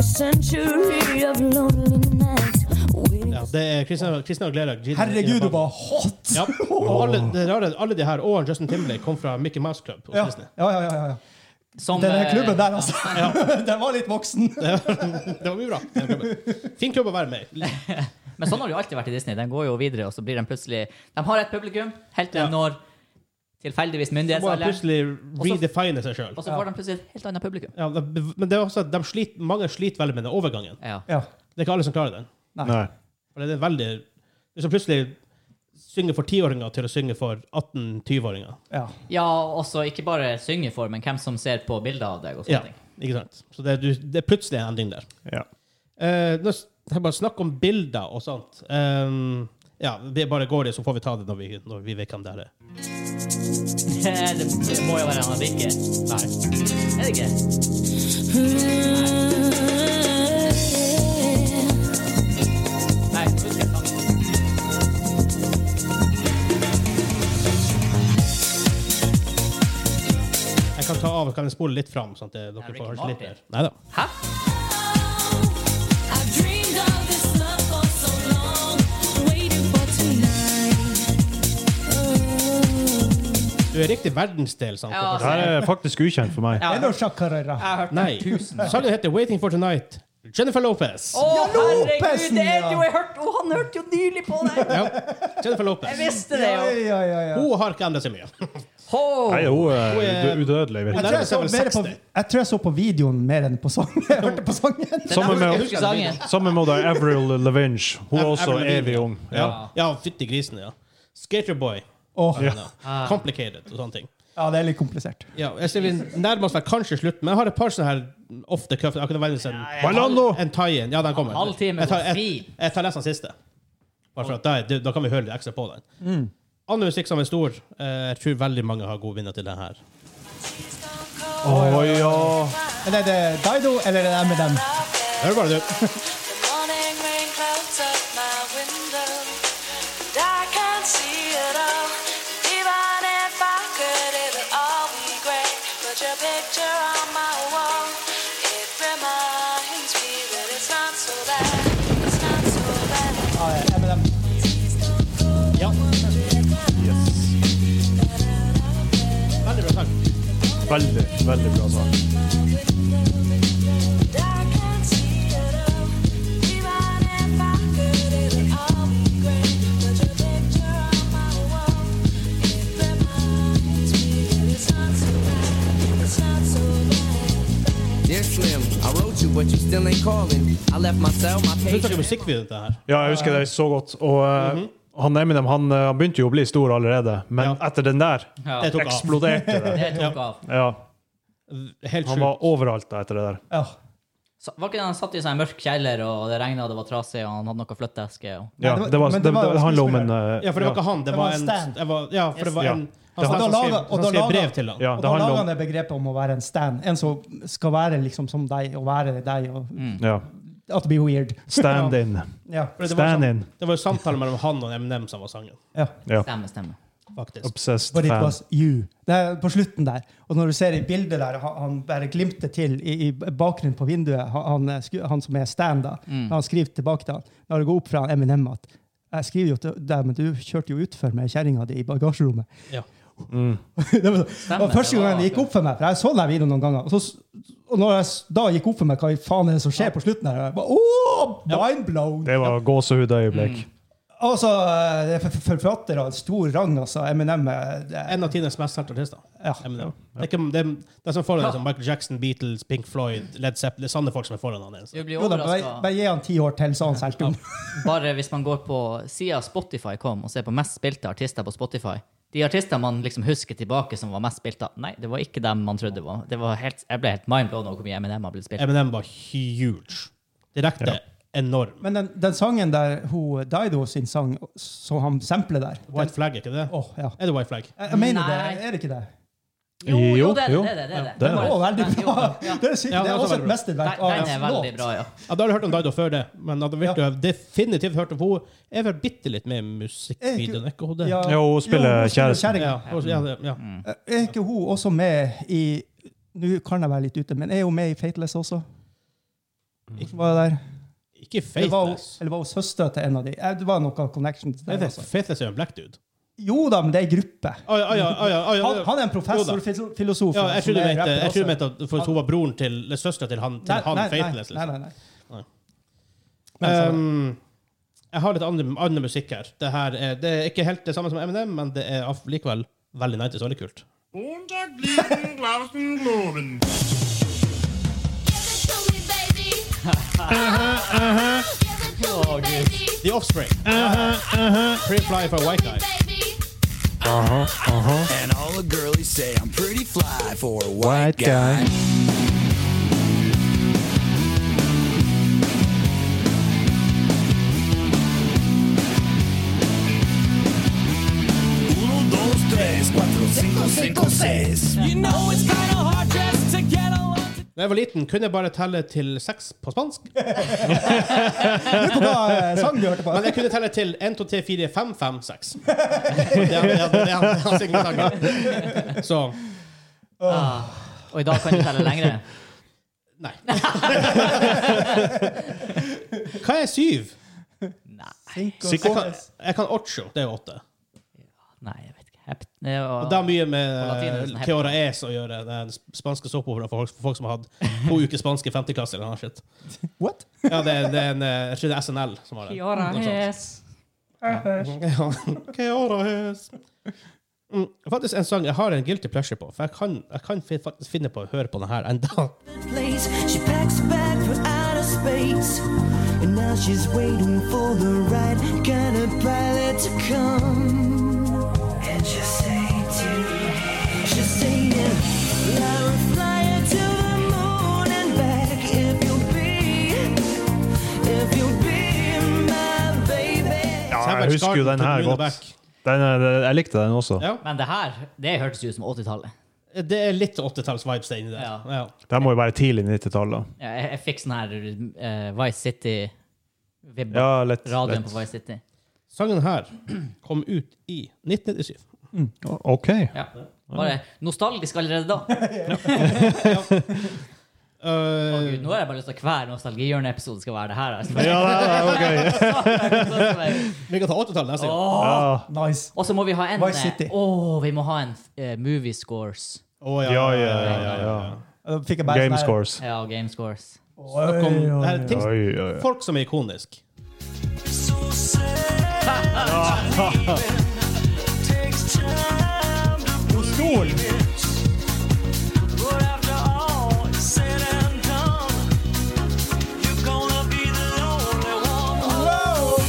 H: Century of lonely nights.
A: Ja, det er Christina, Christina Aguilera. Gina-
D: Herregud, hun var hot!
A: Ja, og alle, det rare, alle de her, og Justin Timberlake kom fra Mickey Mouse Club hos
D: Ja,
A: Disney.
D: ja, ja. ja, ja.
B: Som,
D: Den
B: eh,
D: der klubben der, altså. Den var litt voksen.
A: Det var mye bra. den klubben. Fin klubb å være med i.
B: Men sånn har det jo alltid vært i Disney. Den går jo videre, og så blir den plutselig De har et publikum, helt til
A: Ja.
B: de når tilfeldigvis
A: Må jeg
B: myndighetsalder,
A: plutselig redefine seg sjøl.
B: og så får de plutselig et helt annet publikum.
A: Ja, det- men det er også at de sliter, mange sliter veldig med den overgangen.
B: Ja.
D: Ja.
A: Det er ikke alle som klarer den.
C: Nei.
A: For det er veldig Hvis du plutselig synger for 10-åringer til å synge for 18-20-åringer
D: ja.
B: ja, og så ikke bare synge for, men hvem som ser på bilder av deg, og
A: Ja,
B: sånne ting.
A: ikke sant? Så det er, du, det er plutselig en endring der.
C: Ja.
A: Eh, nå s- det er bare snakk om bilder og sånt. Um, ja, vi bare går i, så får vi ta det når vi, når vi vet hvem det her er.
B: Det, det må jo være han Rikke. Nei. Er det ikke? Nei. husker jeg ikke.
A: Jeg kan ta av, kan jeg spole litt fram, sånn at det- dere
B: Ricky
A: får høre litt
B: Martin.
A: mer. Neida.
B: Hæ?
E: Oh,
A: Du er riktig verdensdel, sant?
B: Ja,
A: Dere-
C: Det her er faktisk ukjent for meg.
B: Ja.
D: Er det noe sjakkarera?
B: Jeg har hørt
A: Nei. Sangen heter 'Waiting for Tonight'. Jennifer Lopez.
B: Å, herregud!
D: Lopesen,
B: Det er
D: ja.
B: jo jeg hørte! Å, Oh, han hørte jo nylig på deg!
A: Ja, Jennifer
B: Jeg
A: Lopez.
B: visste det
D: Ja,
B: jo!
D: ja, ja, ja.
A: Hun har ikke endret seg mye.
B: Ho!
C: Nei, hun er
A: er-
C: udø- udødelig.
A: Hun
C: virkelig.
A: er-
D: Jeg så
A: vel
D: mer på,
A: 60.
D: jeg tror jeg så på videoen mer enn på sangen. Jeg hørte på sangen.
B: Den
C: Sammen
B: er-
C: med-
B: jeg husker sangen.
C: Sammen med deg, Avril Lavinge. Hun er også
A: Avril Lavigne,
C: evig
A: ja.
C: ung.
A: Ja,
C: Ja.
A: ja fytti grisen, ja. Skaterboy.
D: Åh,
A: Ja. Complicated og sånne ting.
D: ja, det er litt komplisert.
A: Ah. Ja, jeg ser vi nærmer oss vel kanskje slutt, men jeg har et par sånne her off the cuff. Akkurat verdens en,
C: Bailando!
A: en tie-in. Ja, den kommer.
B: Halv time
A: Jeg tar,
B: går
A: jeg,
B: fint.
A: jeg tar nesten siste. Bare for at da, er- da kan vi høre litt ekstra på den. Andre musikk som er stor, eh, jeg tror veldig mange har gode vinner til den her.
C: Å ja.
D: Men er det Dido eller er det Eminem?
A: Hør bare, du.
E: Morning rain clouds up my window. And I can't see it all. Even if I could, it would all be great. Put your picture on my wall. It reminds me that it's not so bad. It's not so bad.
D: Ja, Eminem.
A: Ja. Veldig bra sang.
C: Veldig, veldig bra sang.
E: And I can't see it all. Even if I could, it would all be great. Put your picture on my wall. It reminds me that it's not so bad. It's not so bad.
G: Dear Slim, I wrote you, but you still ain't calling. I left my cell, my
A: Slutt
G: page.
A: å musikkvideo til det her.
C: Ja, jeg husker det så godt. Og eh, han Eminem han, eh, han begynte jo å bli stor allerede, men
A: Ja.
C: etter den der
B: Ja,
A: Det tok av.
C: eksploderte det.
B: det tok av.
C: Ja,
A: Helt
C: han
A: sjukt.
C: var overalt da etter det der.
D: Ja.
B: Så, var ikke det han satt i seg en mørk kjeller, og det regna, og det var trasig, og han hadde noe flytteeske? Og...
C: Ja,
D: det var-
C: det, var,
D: men
C: det,
D: det
C: det,
D: var
C: handler om en eh,
A: Ja, for det var ikke han. Det
D: Det
A: var
D: var
A: en
D: Stan.
A: det var, Ja, for det var
C: Ja.
A: en
C: Det
A: Han
C: var-
A: som
D: Og da
A: skrev,
D: laga- og
A: han
D: da
A: skrev
D: laga-
A: brev til han.
C: ja,
D: Og
C: det
D: da
C: handler
D: lager
C: om
D: han det begrepet om å være en stan. En som skal være liksom som deg, og være deg, og
C: ja.
D: at det blir weird.
C: Stand in.
D: Ja.
A: For det var
C: Stand
A: sånn-
C: in.
A: Det var jo samtale mellom han og Eminem som var sangen,
D: ja.
C: Ja.
B: Stemmer, stemmer.
A: faktisk.
C: Obsessed
D: But it
C: fan.
D: was you. Det er på slutten der. Og når du ser i bildet der, han, han bare glimter til i, i bakgrunnen på vinduet, han, han, er sku- han som er stand da, når han skriver tilbake til han, når det går opp fra Eminem at jeg skriver jo til deg, men du kjørte jo utfor med kjerringa di i bagasjerommet.
A: Ja.
D: det var, sånn-
B: Stemmer,
D: og første
B: det var
D: gangen det gikk opp for meg, for jeg så den videoen noen ganger, og, så, s- og når jeg s- da gikk opp for meg hva i faen er det som skjer på slutten her, jeg bare, åh, mind blown!
C: Det var gåsehudøyeblikk.
D: Altså, eh, det er for- forfatter av stor rang, altså, Eminem, eh, det er
A: En av tidenes mest solgte artister.
D: Ja.
A: Eminem. Det er ikke det, er- det er som foran som Michael Jackson, Beatles, Pink Floyd, Led Zeppelin Det er sanne folk som er foran han. Altså.
B: Du blir
D: Jo da, bare,
B: overraska
D: bare gi han ti år til, så har han solgt den.
B: bare hvis man går på sida Spotify kom, og ser på mest spilte artister på Spotify. De artistene man liksom husker tilbake som var mest spilt av, nei, det var ikke dem man trodde var. Det var helt, jeg ble helt mindblown over hvor mye Eminem har blitt spilt.
A: Eminem var huge. Direkte enorm.
D: Men den, den sangen der hun Dido sin sang, som han sampler der den-
A: White Flag, er ikke det?
D: Åh, ja.
A: Er det White Flag?
D: Jeg, jeg mener
B: Nei.
D: det, er det ikke det?
B: Jo, jo,
C: Jo,
B: det er
C: jo.
B: det. det, er det, det, er det.
D: Å,
C: Den er-
D: veldig
B: Den-
D: bra!
B: jo, ja.
D: Det, er, sykt.
A: Ja,
D: det
A: den
D: er
A: var
D: også
A: veldig
D: et
A: bra.
D: mesterverk
B: Den
D: av
B: den er veldig
D: låt.
B: bra, ja.
A: Ja, da har du hørt om Dido før det, men da vil du ha definitivt hørt om henne. Jeg har bitte litt med i musikkvideoen, er ikke hun det?
C: Ja, hun spiller kjæresten.
A: Ja, og- ja, det- ja.
D: Er ikke hun også med i Nå kan jeg være litt ute, men er hun med i Fateless også?
A: Mm.
D: Ikke var det der?
A: Ikke
D: Det var, hun-
A: Faithless.
D: eller var hun søster til en av de? Eh, Det var noe connection til
A: Nei,
D: det.
A: det-
D: også.
A: Faithless er jo en black dude.
D: Jo da, men det er en gruppe.
A: Å ja, å ja, å ja, å ja,
D: Han,
A: ja.
D: han er en
A: Jo
D: professor,
A: da.
D: filo- filosof.
A: Ja, jeg
D: som
A: trodde du
D: er
A: mente,
D: rapper
A: jeg trodde du
D: også.
A: mente at for at hun var broren til eller søstera til han, til han Faithless.
D: Nei,
A: Liksom.
D: nei, nei.
A: Nei.
D: Men sånn,
A: Um, jeg har litt annen, annen musikk her. Det, her er, det er ikke helt det samme som Eminem, men det er av- likevel veldig 90s, veldig kult.
B: Å, Gud.
A: The Offspring. Free Fly for White Guy.
F: And all the girlies say I'm pretty fly for a
C: White guy.
F: Uno, dos, tres, cuatro, cinco, cinco, seis.
G: You know it's kinda hard just to get along.
A: Da jeg var liten, kunne jeg bare telle til seks på spansk.
D: hva eh, sang du hørte på?
A: Men jeg kunne telle til 1, 2, 3, 4, 5, 5, 6. Det er det er- det er hans egen sang. Så
B: Ah. Og i dag kan du telle lengre.
A: nei. Hva er syv? Jeg
C: Sikko?
A: kan, jeg kan ocho. Det er jo åtte.
B: Nei, jeg vet ikke. Hept, det var,
A: Og det har mye
B: Og latin er
A: med
B: sånn
A: eh, Keora Es å gjøre. Den spanske såpeoperaen for, folk- for folk som har hatt to uker spansk i 5. klasse. Eller noe shit.
D: What?
A: Ja, det, er- det er en eh, jeg tror det er SNL som har det.
B: Kiara
A: Noe sånt.
B: Hes.
A: Ja. Keora Es. Mm, faktisk en sang jeg har en guilty pleasure på, for jeg kan, jeg kan fi- faktisk finne på å høre på den her enda.
G: place. She packs a bag for outer space. And now she's waiting for the right kind of pilot to come. And she'll say to she'll say to Lara, fly her to the moon and back if you'll be, if you'll be my baby.
A: Så jeg
C: Jeg husker jo
A: Skarten
C: den
A: på
C: her
A: Rune
C: godt. Den er, jeg likte den også.
A: Ja.
B: Men det her, det hørtes jo ut som 80-tallet.
A: Beck. Det er litt 80-talls-vibes der inni der.
B: Ja.
A: Ja.
C: Den må jo være tidlig 90-tallet.
B: Ja, jeg, jeg fikk sånn her eh, Vice City-vibber.
C: Ja, litt.
B: Radioen
C: litt.
B: på Vice City.
A: Sangen her kom ut i 1997.
C: OK.
B: Ja. Bare nostalgisk allerede da. Å,
A: Uh,
B: Gud, nå har jeg bare lyst til at hver nostalgihjørne-episode skal være det her. altså.
C: Ja, det er OK.
A: vi kan ta 80-tallet neste gang.
B: Åh.
C: Ja.
D: Nice.
B: Og så må vi ha en
D: Vice City.
B: Åh, vi må ha en eh, movie scores.
A: Å,
C: Ja, ja, ja, ja.
D: Da fikk jeg bare
C: Game
D: sånn her-
C: scores.
B: Ja, og game scores.
A: Snakk om det her, ting,
C: Oi, oi, oi.
A: folk som er ikoniske.
E: So sad. Takes time to believe it. But after all is said and done, you're gonna be the lonely one.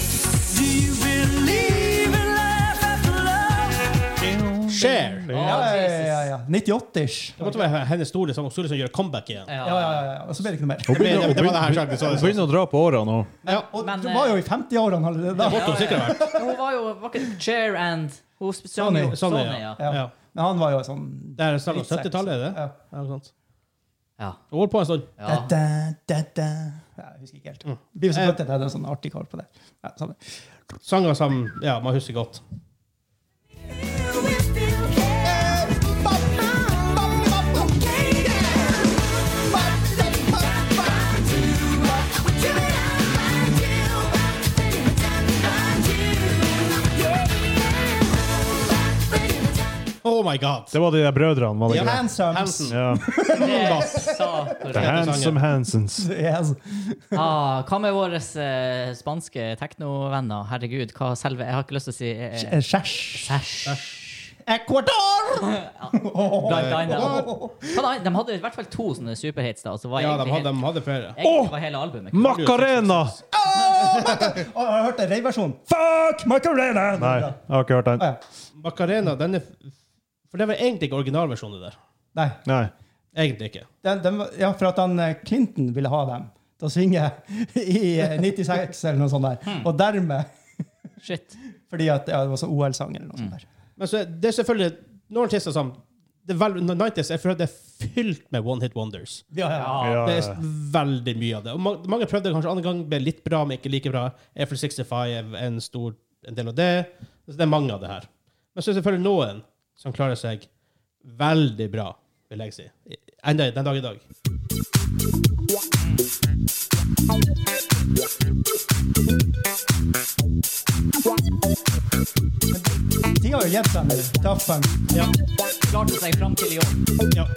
E: Do you believe in life after love?
A: Share!
B: Åh,
D: Ja, ja,
B: Jesus.
D: ja, ja. 98-ish.
A: Det måtte være hennes store som, store som gjør comeback igjen.
D: Ja, ja, ja, ja. Og så ble det ikke noe mer.
A: Det, det, det var det her sagt. så- så-
C: Begynner å dra på åra nå.
A: Ja,
D: Og
B: Men,
D: du
B: eh,
D: var jo i 50-årene allerede da.
A: måtte hun sikkert vært.
B: Hun var jo var ikke Chair and Hun sp- sang jo
D: Sonny.
A: Sånn,
B: Sonny,
A: ja.
B: ja.
A: ja.
D: Men han var jo sånn
A: Det er snakk om 70-tallet, er det?
D: Ja.
A: Ja, noe sånt.
B: Ja.
A: Hun holdt på en stund.
D: Da,
B: ja.
D: da, da, da. Ja, jeg husker ikke helt. Det blir jo så flott at jeg hadde en sånn artig kar på det. Ja, sånn. samme.
A: Sanger som ja, man husker godt. Oh my god!
C: Det var de der brødrene, var det
A: Ja.
C: ikke? det?
D: Handsome.
A: Hansen.
C: Ja.
B: Det sa
C: The
B: korrekt.
C: Handsome Hansons.
D: Yes.
B: Ah, hva med våre eh, spanske teknovenner? Herregud, hva selve Jeg har ikke lyst til å si eh,
D: Eh, Skjæsj.
B: Sæsj.
D: Ecuador!
B: Blant annet. Hva da? De hadde i hvert fall to sånne superhits. da, og så var
A: Ja, de
B: egentlig
A: hadde,
B: helt-
A: de hadde flere.
B: Egentlig var hele albumet
C: Macarena!
D: Og jeg har hørt en revversjon. Fuck Macarena!
C: Nei, jeg har ikke hørt
D: Å,
C: den.
D: ja.
A: Macarena, den er For det var egentlig ikke originalversjonen der.
D: Nei.
C: Nei.
A: Egentlig ikke.
D: Den, den, var- ja, for at han, eh, Clinton ville ha dem til å synge i eh, 96 eller noe sånt
A: Hmm.
D: der. Og dermed
B: Shit.
D: Fordi at ja, det var sånn OL-sang eller noe
A: Hmm.
D: sånt der.
A: Men så, er- det er selvfølgelig noen artister som det er vel, 90s, jeg føler det er fylt med one hit wonders.
D: Ja, ja.
C: Ja,
A: Det
C: ja.
A: er veldig mye av det. Og ma- mange prøvde kanskje andre gang, ble litt bra, men ikke like bra. Eiffel 65 er en stor en del av det. Så det er mange av det her. Men så er det selvfølgelig noen som klarer seg veldig bra, vil jeg si. Enda den dag i dag.
D: De har jo gitt seg med Daft Punk.
A: Ja.
B: Klarte seg fram til i år.
A: ja.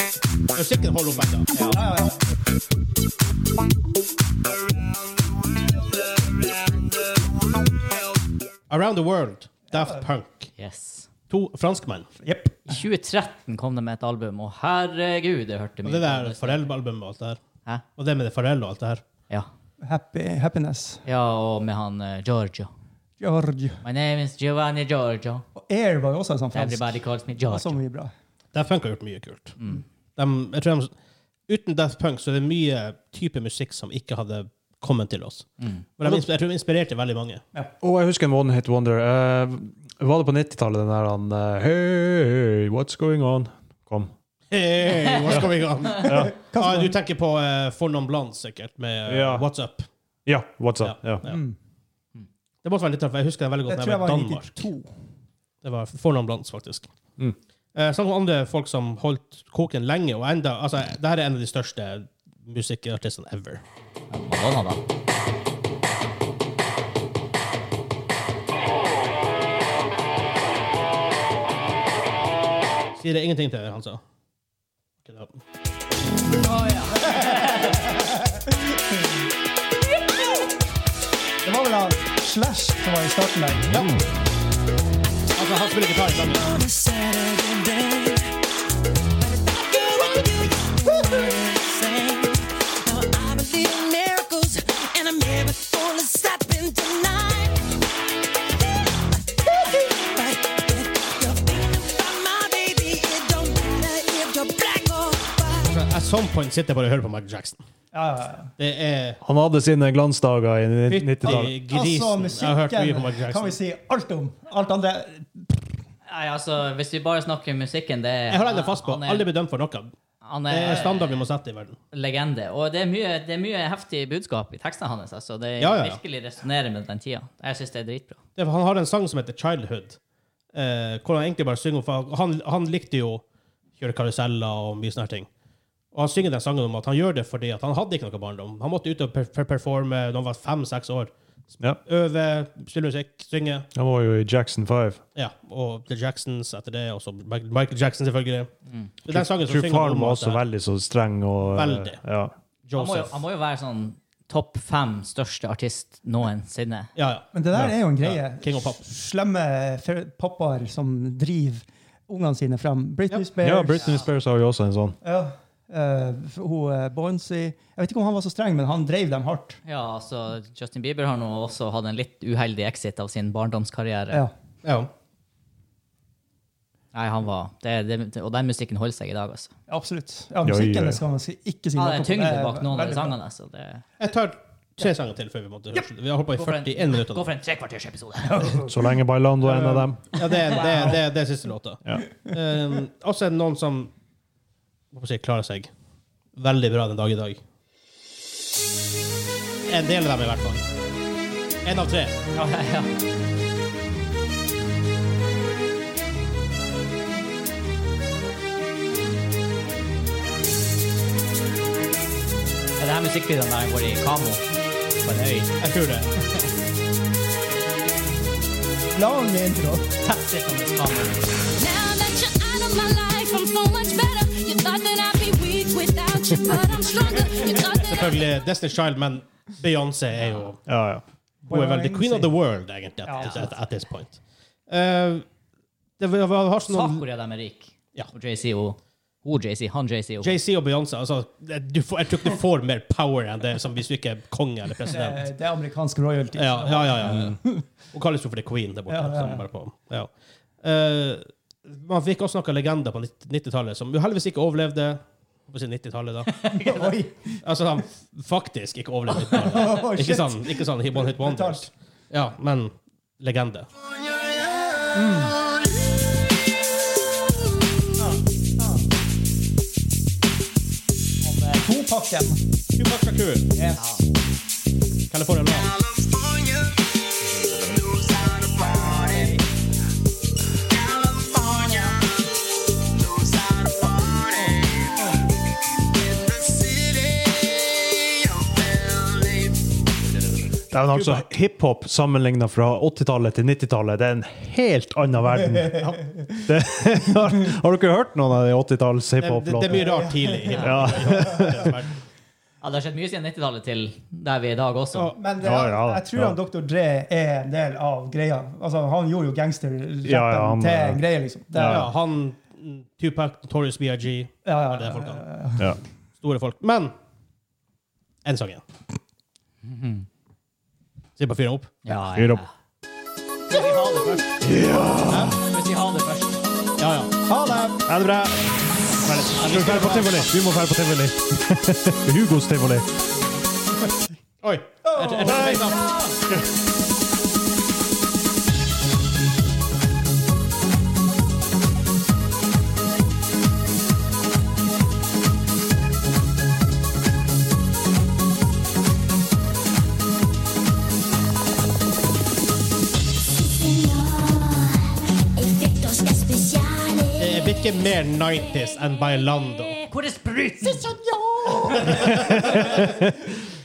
A: Musikken holder opp ennå.
D: Ja, ja, ja.
A: Around the World, Daft Punk.
B: Yes.
A: To franskmenn.
D: Jepp.
B: I 2013 kom det med et album, og herregud, jeg hørte
A: Og
B: mye.
A: det
B: på
A: der
B: det.
A: Farrell-albumet og alt det her.
B: Hæ?
A: Og det med det Farrell og alt det her.
B: Ja.
D: Happy, happiness.
B: ja, og med han eh, Giorgio.
D: George.
B: My name is Giovanni Giorgio.
D: Og Air var jo også en sånn fransk.
B: Everybody calls me
D: Det var så
B: Giorgio.
D: mye bra.
A: Daft Punk har gjort mye kult.
C: Mm.
A: Dem- jeg tror de, uten Daft Punk så er det mye type musikk som ikke hadde kommet til oss.
C: Mm.
A: For de, insp- jeg tror de inspirerte veldig mange.
C: Og jeg husker en One Hit Wonder. Eh, var det på 90-tallet den der han eh, Hey, what's going on? Kom.
A: Hey, what's going on?
C: Ja.
A: ah, du tenker på uh, Fornon Blond, sikkert, med eh,
C: Ja.
A: What's Up.
C: Ja, what's up? Ja.
A: Ja. Det måtte være litt tøft, for jeg husker det veldig
D: Jeg
A: godt da
D: tror
A: jeg
D: jeg
A: var i
D: var
A: Danmark.
D: 92.
A: Det var Fornon Blondes, faktisk.
C: Mm.
A: Eh, Snakk om andre folk som holdt koken lenge, og enda Altså, det her er en av de største musikkartistene ever.
B: Madonna, da.
A: Sier det ingenting til deg, han sa. Ok, da.
D: Det var vel han Slash som var i starten der. Ja.
A: Altså, han spiller gitar i sammen.
E: On a Saturday day, Now I believe in miracles, and I'm here before it's stopping tonight. You're thinking about my baby. It don't matter if you're black or white.
A: At some point sitter jeg bare og hører på Michael Jackson.
D: Ja, ja, ja.
A: Det er
C: Han hadde sine glansdager i ni-
A: fytti
C: 90-tallet.
A: grisen. Jeg har hørt mye på Michael
D: Altså, kan
A: Jackson.
D: vi si alt om. Alt andre
B: Nei, altså, hvis vi bare snakker musikken, det er
A: Jeg har aldri fast på.
B: han er-
A: Aldri blitt dømt for noe.
B: Han
A: Det er
B: er
A: standard vi må sette i verden.
B: legende. Og det er mye, det er mye heftig budskap i tekstene hans. Altså. Det
A: Ja, ja, ja.
B: virkelig resonnerer med den tida. Jeg syns det er dritbra.
A: Det er, for han har en sang som heter 'Childhood', eh, hvor han egentlig bare synger om for han, han likte jo å kjøre karuseller og mye sånne her ting. Og han synger den sangen om at han gjør det fordi at han hadde ikke noe barndom. Han måtte ut og per per- performe da han var fem-seks år.
C: Ja.
A: Øve, spille musikk, synge.
C: Han var jo i Jackson 5.
A: Ja, og The Jacksons etter det, og så Michael Jackson, selvfølgelig.
B: Mm.
A: Det er Den sangen som
C: True
A: synger
C: Farm
A: om
C: var
A: at
C: også veldig så streng og eh,
A: Veldig.
C: Ja.
B: Han må, jo,
A: Joseph
B: han må jo være sånn topp fem største artist noensinne.
A: Ja, ja.
D: Men det der er jo en greie.
A: Ja, King of Pop.
D: Slemme fe- pappaer som driver ungene sine fram. Britney Spears.
C: ja, Britney Spears har jo også en sånn.
D: Ja. Eh, hun eh, Bonzi Jeg vet ikke om han var så streng, men han drev dem hardt.
B: Ja, altså, Justin Bieber har nå også hatt en litt uheldig exit av sin barndomskarriere.
D: Ja.
A: ja.
B: Nei, han var, det, det, Og den musikken holder seg i dag, altså.
D: Absolutt. Ja,
C: Ja,
D: musikken
C: ja, ja.
D: skal man si- ikke si
B: Han hadde
D: noe
B: en
D: om.
B: tyngde
D: Det er
B: bak noen av de
D: veldig bra.
B: sangene. Altså. Det,
A: Jeg tar tre sanger til før vi måtte Vi har holdt på i
B: gå for en-
A: 41 minutter.
B: gå
A: nå.
B: for en trekvartersepisode.
C: Så lenge Bailando er en av dem.
A: Ja, det er, det er, det er, det er siste låta.
C: Ja.
A: Um, også er det noen som må si, klarer seg veldig bra den dag i dag. En del av dem, i hvert fall. En av tre.
B: ja, ja. Er det her musikkvideoen der han går i kamo på en øy?
A: Jeg tror det.
D: Lang intro.
B: Tett sittende kamo.
H: Now that you're out of my life, I'm so much better. You thought that I'd be weak without you, but I'm stronger. You thought that I'd
A: Selvfølgelig Destiny's Child, men Beyoncé er jo
C: Ja, ja.
A: Hun er vel the queen of the world, egentlig, at, at, at this point. Uh, det var, var, har sånn noen
B: Sak hvor er de er rik.
A: Ja.
B: Og JC og Hun JC, han JC og
A: JC og Beyoncé altså, du får, Jeg tror ikke du får mer power enn det som hvis du ikke er konge eller
D: Det
A: president.
D: er- Eh, det er amerikansk royalty.
A: Ja, ja, ja. ja, ja. Hun kalles jo for The Queen der borte.
D: Liksom. Mm. Ja, ja, ja.
A: som bare på. Ja. Eh, man fikk også noen legender på 90-tallet som jo heldigvis ikke overlevde. På sin 90-tallet, da.
D: Oi.
A: Altså, han faktisk ikke overlevde 90-tallet.
D: Oh,
A: Ikke
D: shit.
A: sånn, ikke sånn One Hit Wonders. Ja, men legende.
D: Topakken.
A: Tupac Shakur,
D: Yes.
A: California Love.
C: Det er jo altså hiphop sammenligna fra 80-tallet til 90-tallet. Det er en helt annen verden. Det, har, har dere hørt noen av de 80-talls
A: Det, det, det er
C: hiphop-låtene?
A: mye rart tidlig. i
C: Ja.
A: hiphop.
B: Ja, det har skjedd mye siden 90-tallet til der vi er i dag også.
A: Ja.
D: Men det,
C: Ja, ja,
D: jeg tror
C: ja.
D: han Dr. Dre er en del av greia. Altså, han gjorde jo gangsterrappen
C: Ja, ja, han-
D: til en greie, liksom. Det,
A: Ja, han Tupac, Notorious BIG,
D: ja, ja,
A: det er folk han.
C: Ja.
A: Store folk. Men én sang igjen. Se på fyren opp.
B: Ja,
C: Fyr opp.
B: Skal vi ha det først? Hæ? Skal vi ha det først?
A: Ja, ja.
D: Ha det!
C: Ha det bra! Vi må dra på tivoli. Vi må dra på tivoli. Hugos tivoli.
A: Oi! Jeg, jeg, jeg,
H: Efectos especiales.
A: jeg blir ikke eh, mer 90s enn Bailando.
B: Hvor er spruten?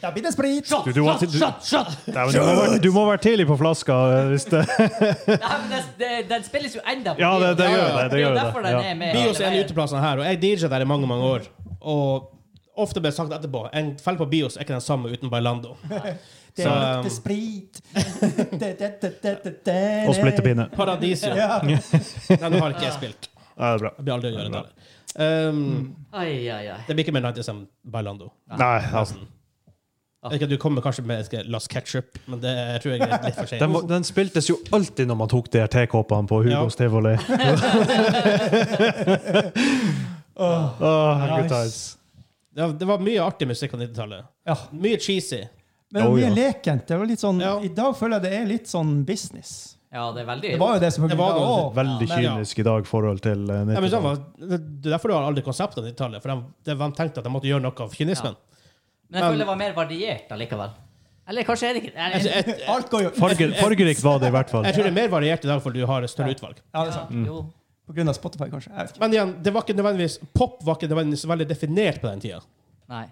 D: Da blir det sprit!
C: Du, du, må- du,
B: Shot, shot!
C: Nei, men du, må være, du må være tidlig på flaska. Hvis det,
B: Nei, men det, det, den spilles jo enda på
C: ja, det, det
B: video.
C: gjør det. det,
B: er jo
C: gjør
B: derfor
C: det.
B: den
C: Ja.
B: er med.
A: Bios er en uteplass her, og jeg DJ der i mange mange år. Og ofte ble det sagt etterpå en kveld på Bios er ikke den samme uten Bailando.
D: Det
A: Så,
D: lukter
A: um,
D: sprit! Det- det- det- det- det- det-
C: Og splittepinne.
A: Paradisio.
D: Ja.
A: Nei, nå har ikke jeg spilt.
C: Ja, det er bra.
A: Jeg blir aldri å gjøre det.
C: Bra.
A: heller. Um,
B: Ai, ai, ai.
A: Det blir ikke mer 90s enn Bailando.
C: Nei, altså.
A: Jeg vet ikke, Du kommer kanskje med jeg skal, Las Ketchup, men det jeg tror jeg er litt for
C: Den,
A: sent.
C: var- den spiltes jo alltid når man tok de her tekoppene på Hugos tivoli. Åh, gutta.
D: Nice.
A: Det var, det var mye artig musikk på 90-tallet.
D: Ja.
A: Mye cheesy.
D: Men det
C: Oh,
D: var mye
C: ja.
D: lekent. Det var litt sånn,
A: Ja.
D: I dag føler jeg det er litt sånn business.
B: Ja, det er veldig
D: Det var jo det som
A: Det var
D: Å,
A: noe-
C: Veldig
A: Men ja.
C: kynisk i dag i forhold til eh,
A: Ja, men sånn
C: 90-tallet.
A: var, det det er derfor du har alle konseptene på 90-tallet. For de, de, de tenkte at de måtte gjøre noe av kynismen.
B: Men jeg føler det var mer variert allikevel. Eller kanskje er det ikke er
A: Altså,
B: det,
A: jeg, jeg,
D: Alt går jo
C: Farge- Fargerikt var det i hvert fall.
A: jeg tror det er mer variert i dag, for du har et større
D: Ja.
A: utvalg.
D: Ja, det er sant.
B: Jo.
D: På grunn av Spotify, kanskje. Jeg vet ikke.
A: Men igjen, det var ikke nødvendigvis, pop var ikke nødvendigvis veldig definert på den tida.
B: Nei.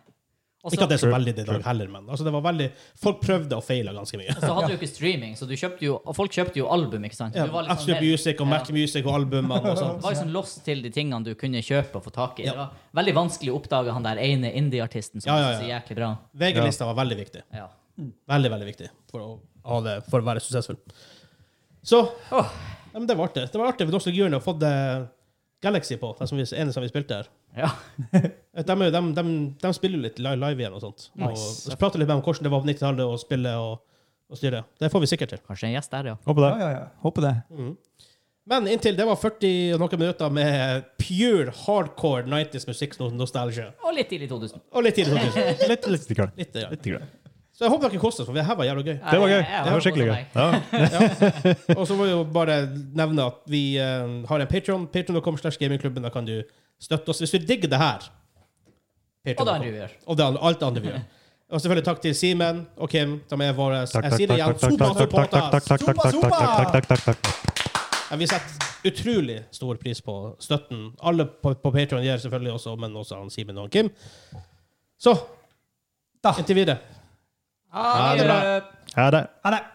B: Og
A: Ikke
B: så
A: at det er så veldig det i dag heller, men altså, det var veldig, folk prøvde og feila ganske mye.
B: og så hadde du jo ikke streaming, så du kjøpte jo, og folk kjøpte jo album, ikke sant?
A: Ja,
B: Du var litt sånn
A: Extra
B: mer-
A: Music og
B: Ja.
A: Mac Music og albumene og sånn.
B: var liksom lost til de tingene du kunne kjøpe og få tak i.
A: Ja.
B: Det var veldig vanskelig å oppdage han der ene indie-artisten som
A: Ja,
B: ja,
A: ja, ja.
B: er jæklig bra.
A: VG-lista var veldig viktig.
B: Ja.
A: Veldig, veldig viktig for å, ha det, for å være suksessfull. Så
B: Åh.
A: ja, men Det var artig. Det var artig for Nostal Gyrne å få det eh, Galaxy på, den som vi, ene som vi spilte her.
B: ja.
A: De, er jo- de, de, de spiller jo litt li- live igjen og sånt.
D: Nice.
A: Og så prater litt med dem om hvordan det var på 90-tallet å spille og, og styre. Det får vi sikkert til.
B: Kanskje en gjest der, ja.
C: Håper det.
D: Ja, ja, ja. Håper det.
A: Men inntil det var 40 og noen minutter med pure hardcore 90s musikk no- nostalgia.
B: Og litt tidlig 2000.
A: Og litt tidlig 2000.
C: Litt, litt, grann.
A: Litt, ja.
C: litt grann.
A: Så jeg håper dere koste oss, for det her var jævla gøy.
C: Det var gøy.
B: Jeg- jeg-
C: Det var skikkelig gøy. Ja.
A: Og så må vi jo bare nevne at vi eh, har en Patreon. Patreon.com slash gamingklubben. Da kan du støtte oss hvis du digger det her.
B: Og det andre
A: Patreon.com.
B: vi gjør.
A: Og det andre, alt det andre vi gjør. Og selvfølgelig takk til Simen og Kim, som er våre
C: Takk,
A: Jeg
C: takk,
A: sier det igjen.
C: takk, takk, takk, takk, takk, takk,
A: Supersupporters!
C: takk, takk, takk, takk, takk, takk, takk, takk.
A: Ja, vi setter utrolig stor pris på støtten. Alle på, på Patreon gjør selvfølgelig også, men også han Simen og han Kim. Så
D: Da.
A: inntil videre.
B: Ha
A: det bra.
B: det.
C: Ha det.
D: Ha det.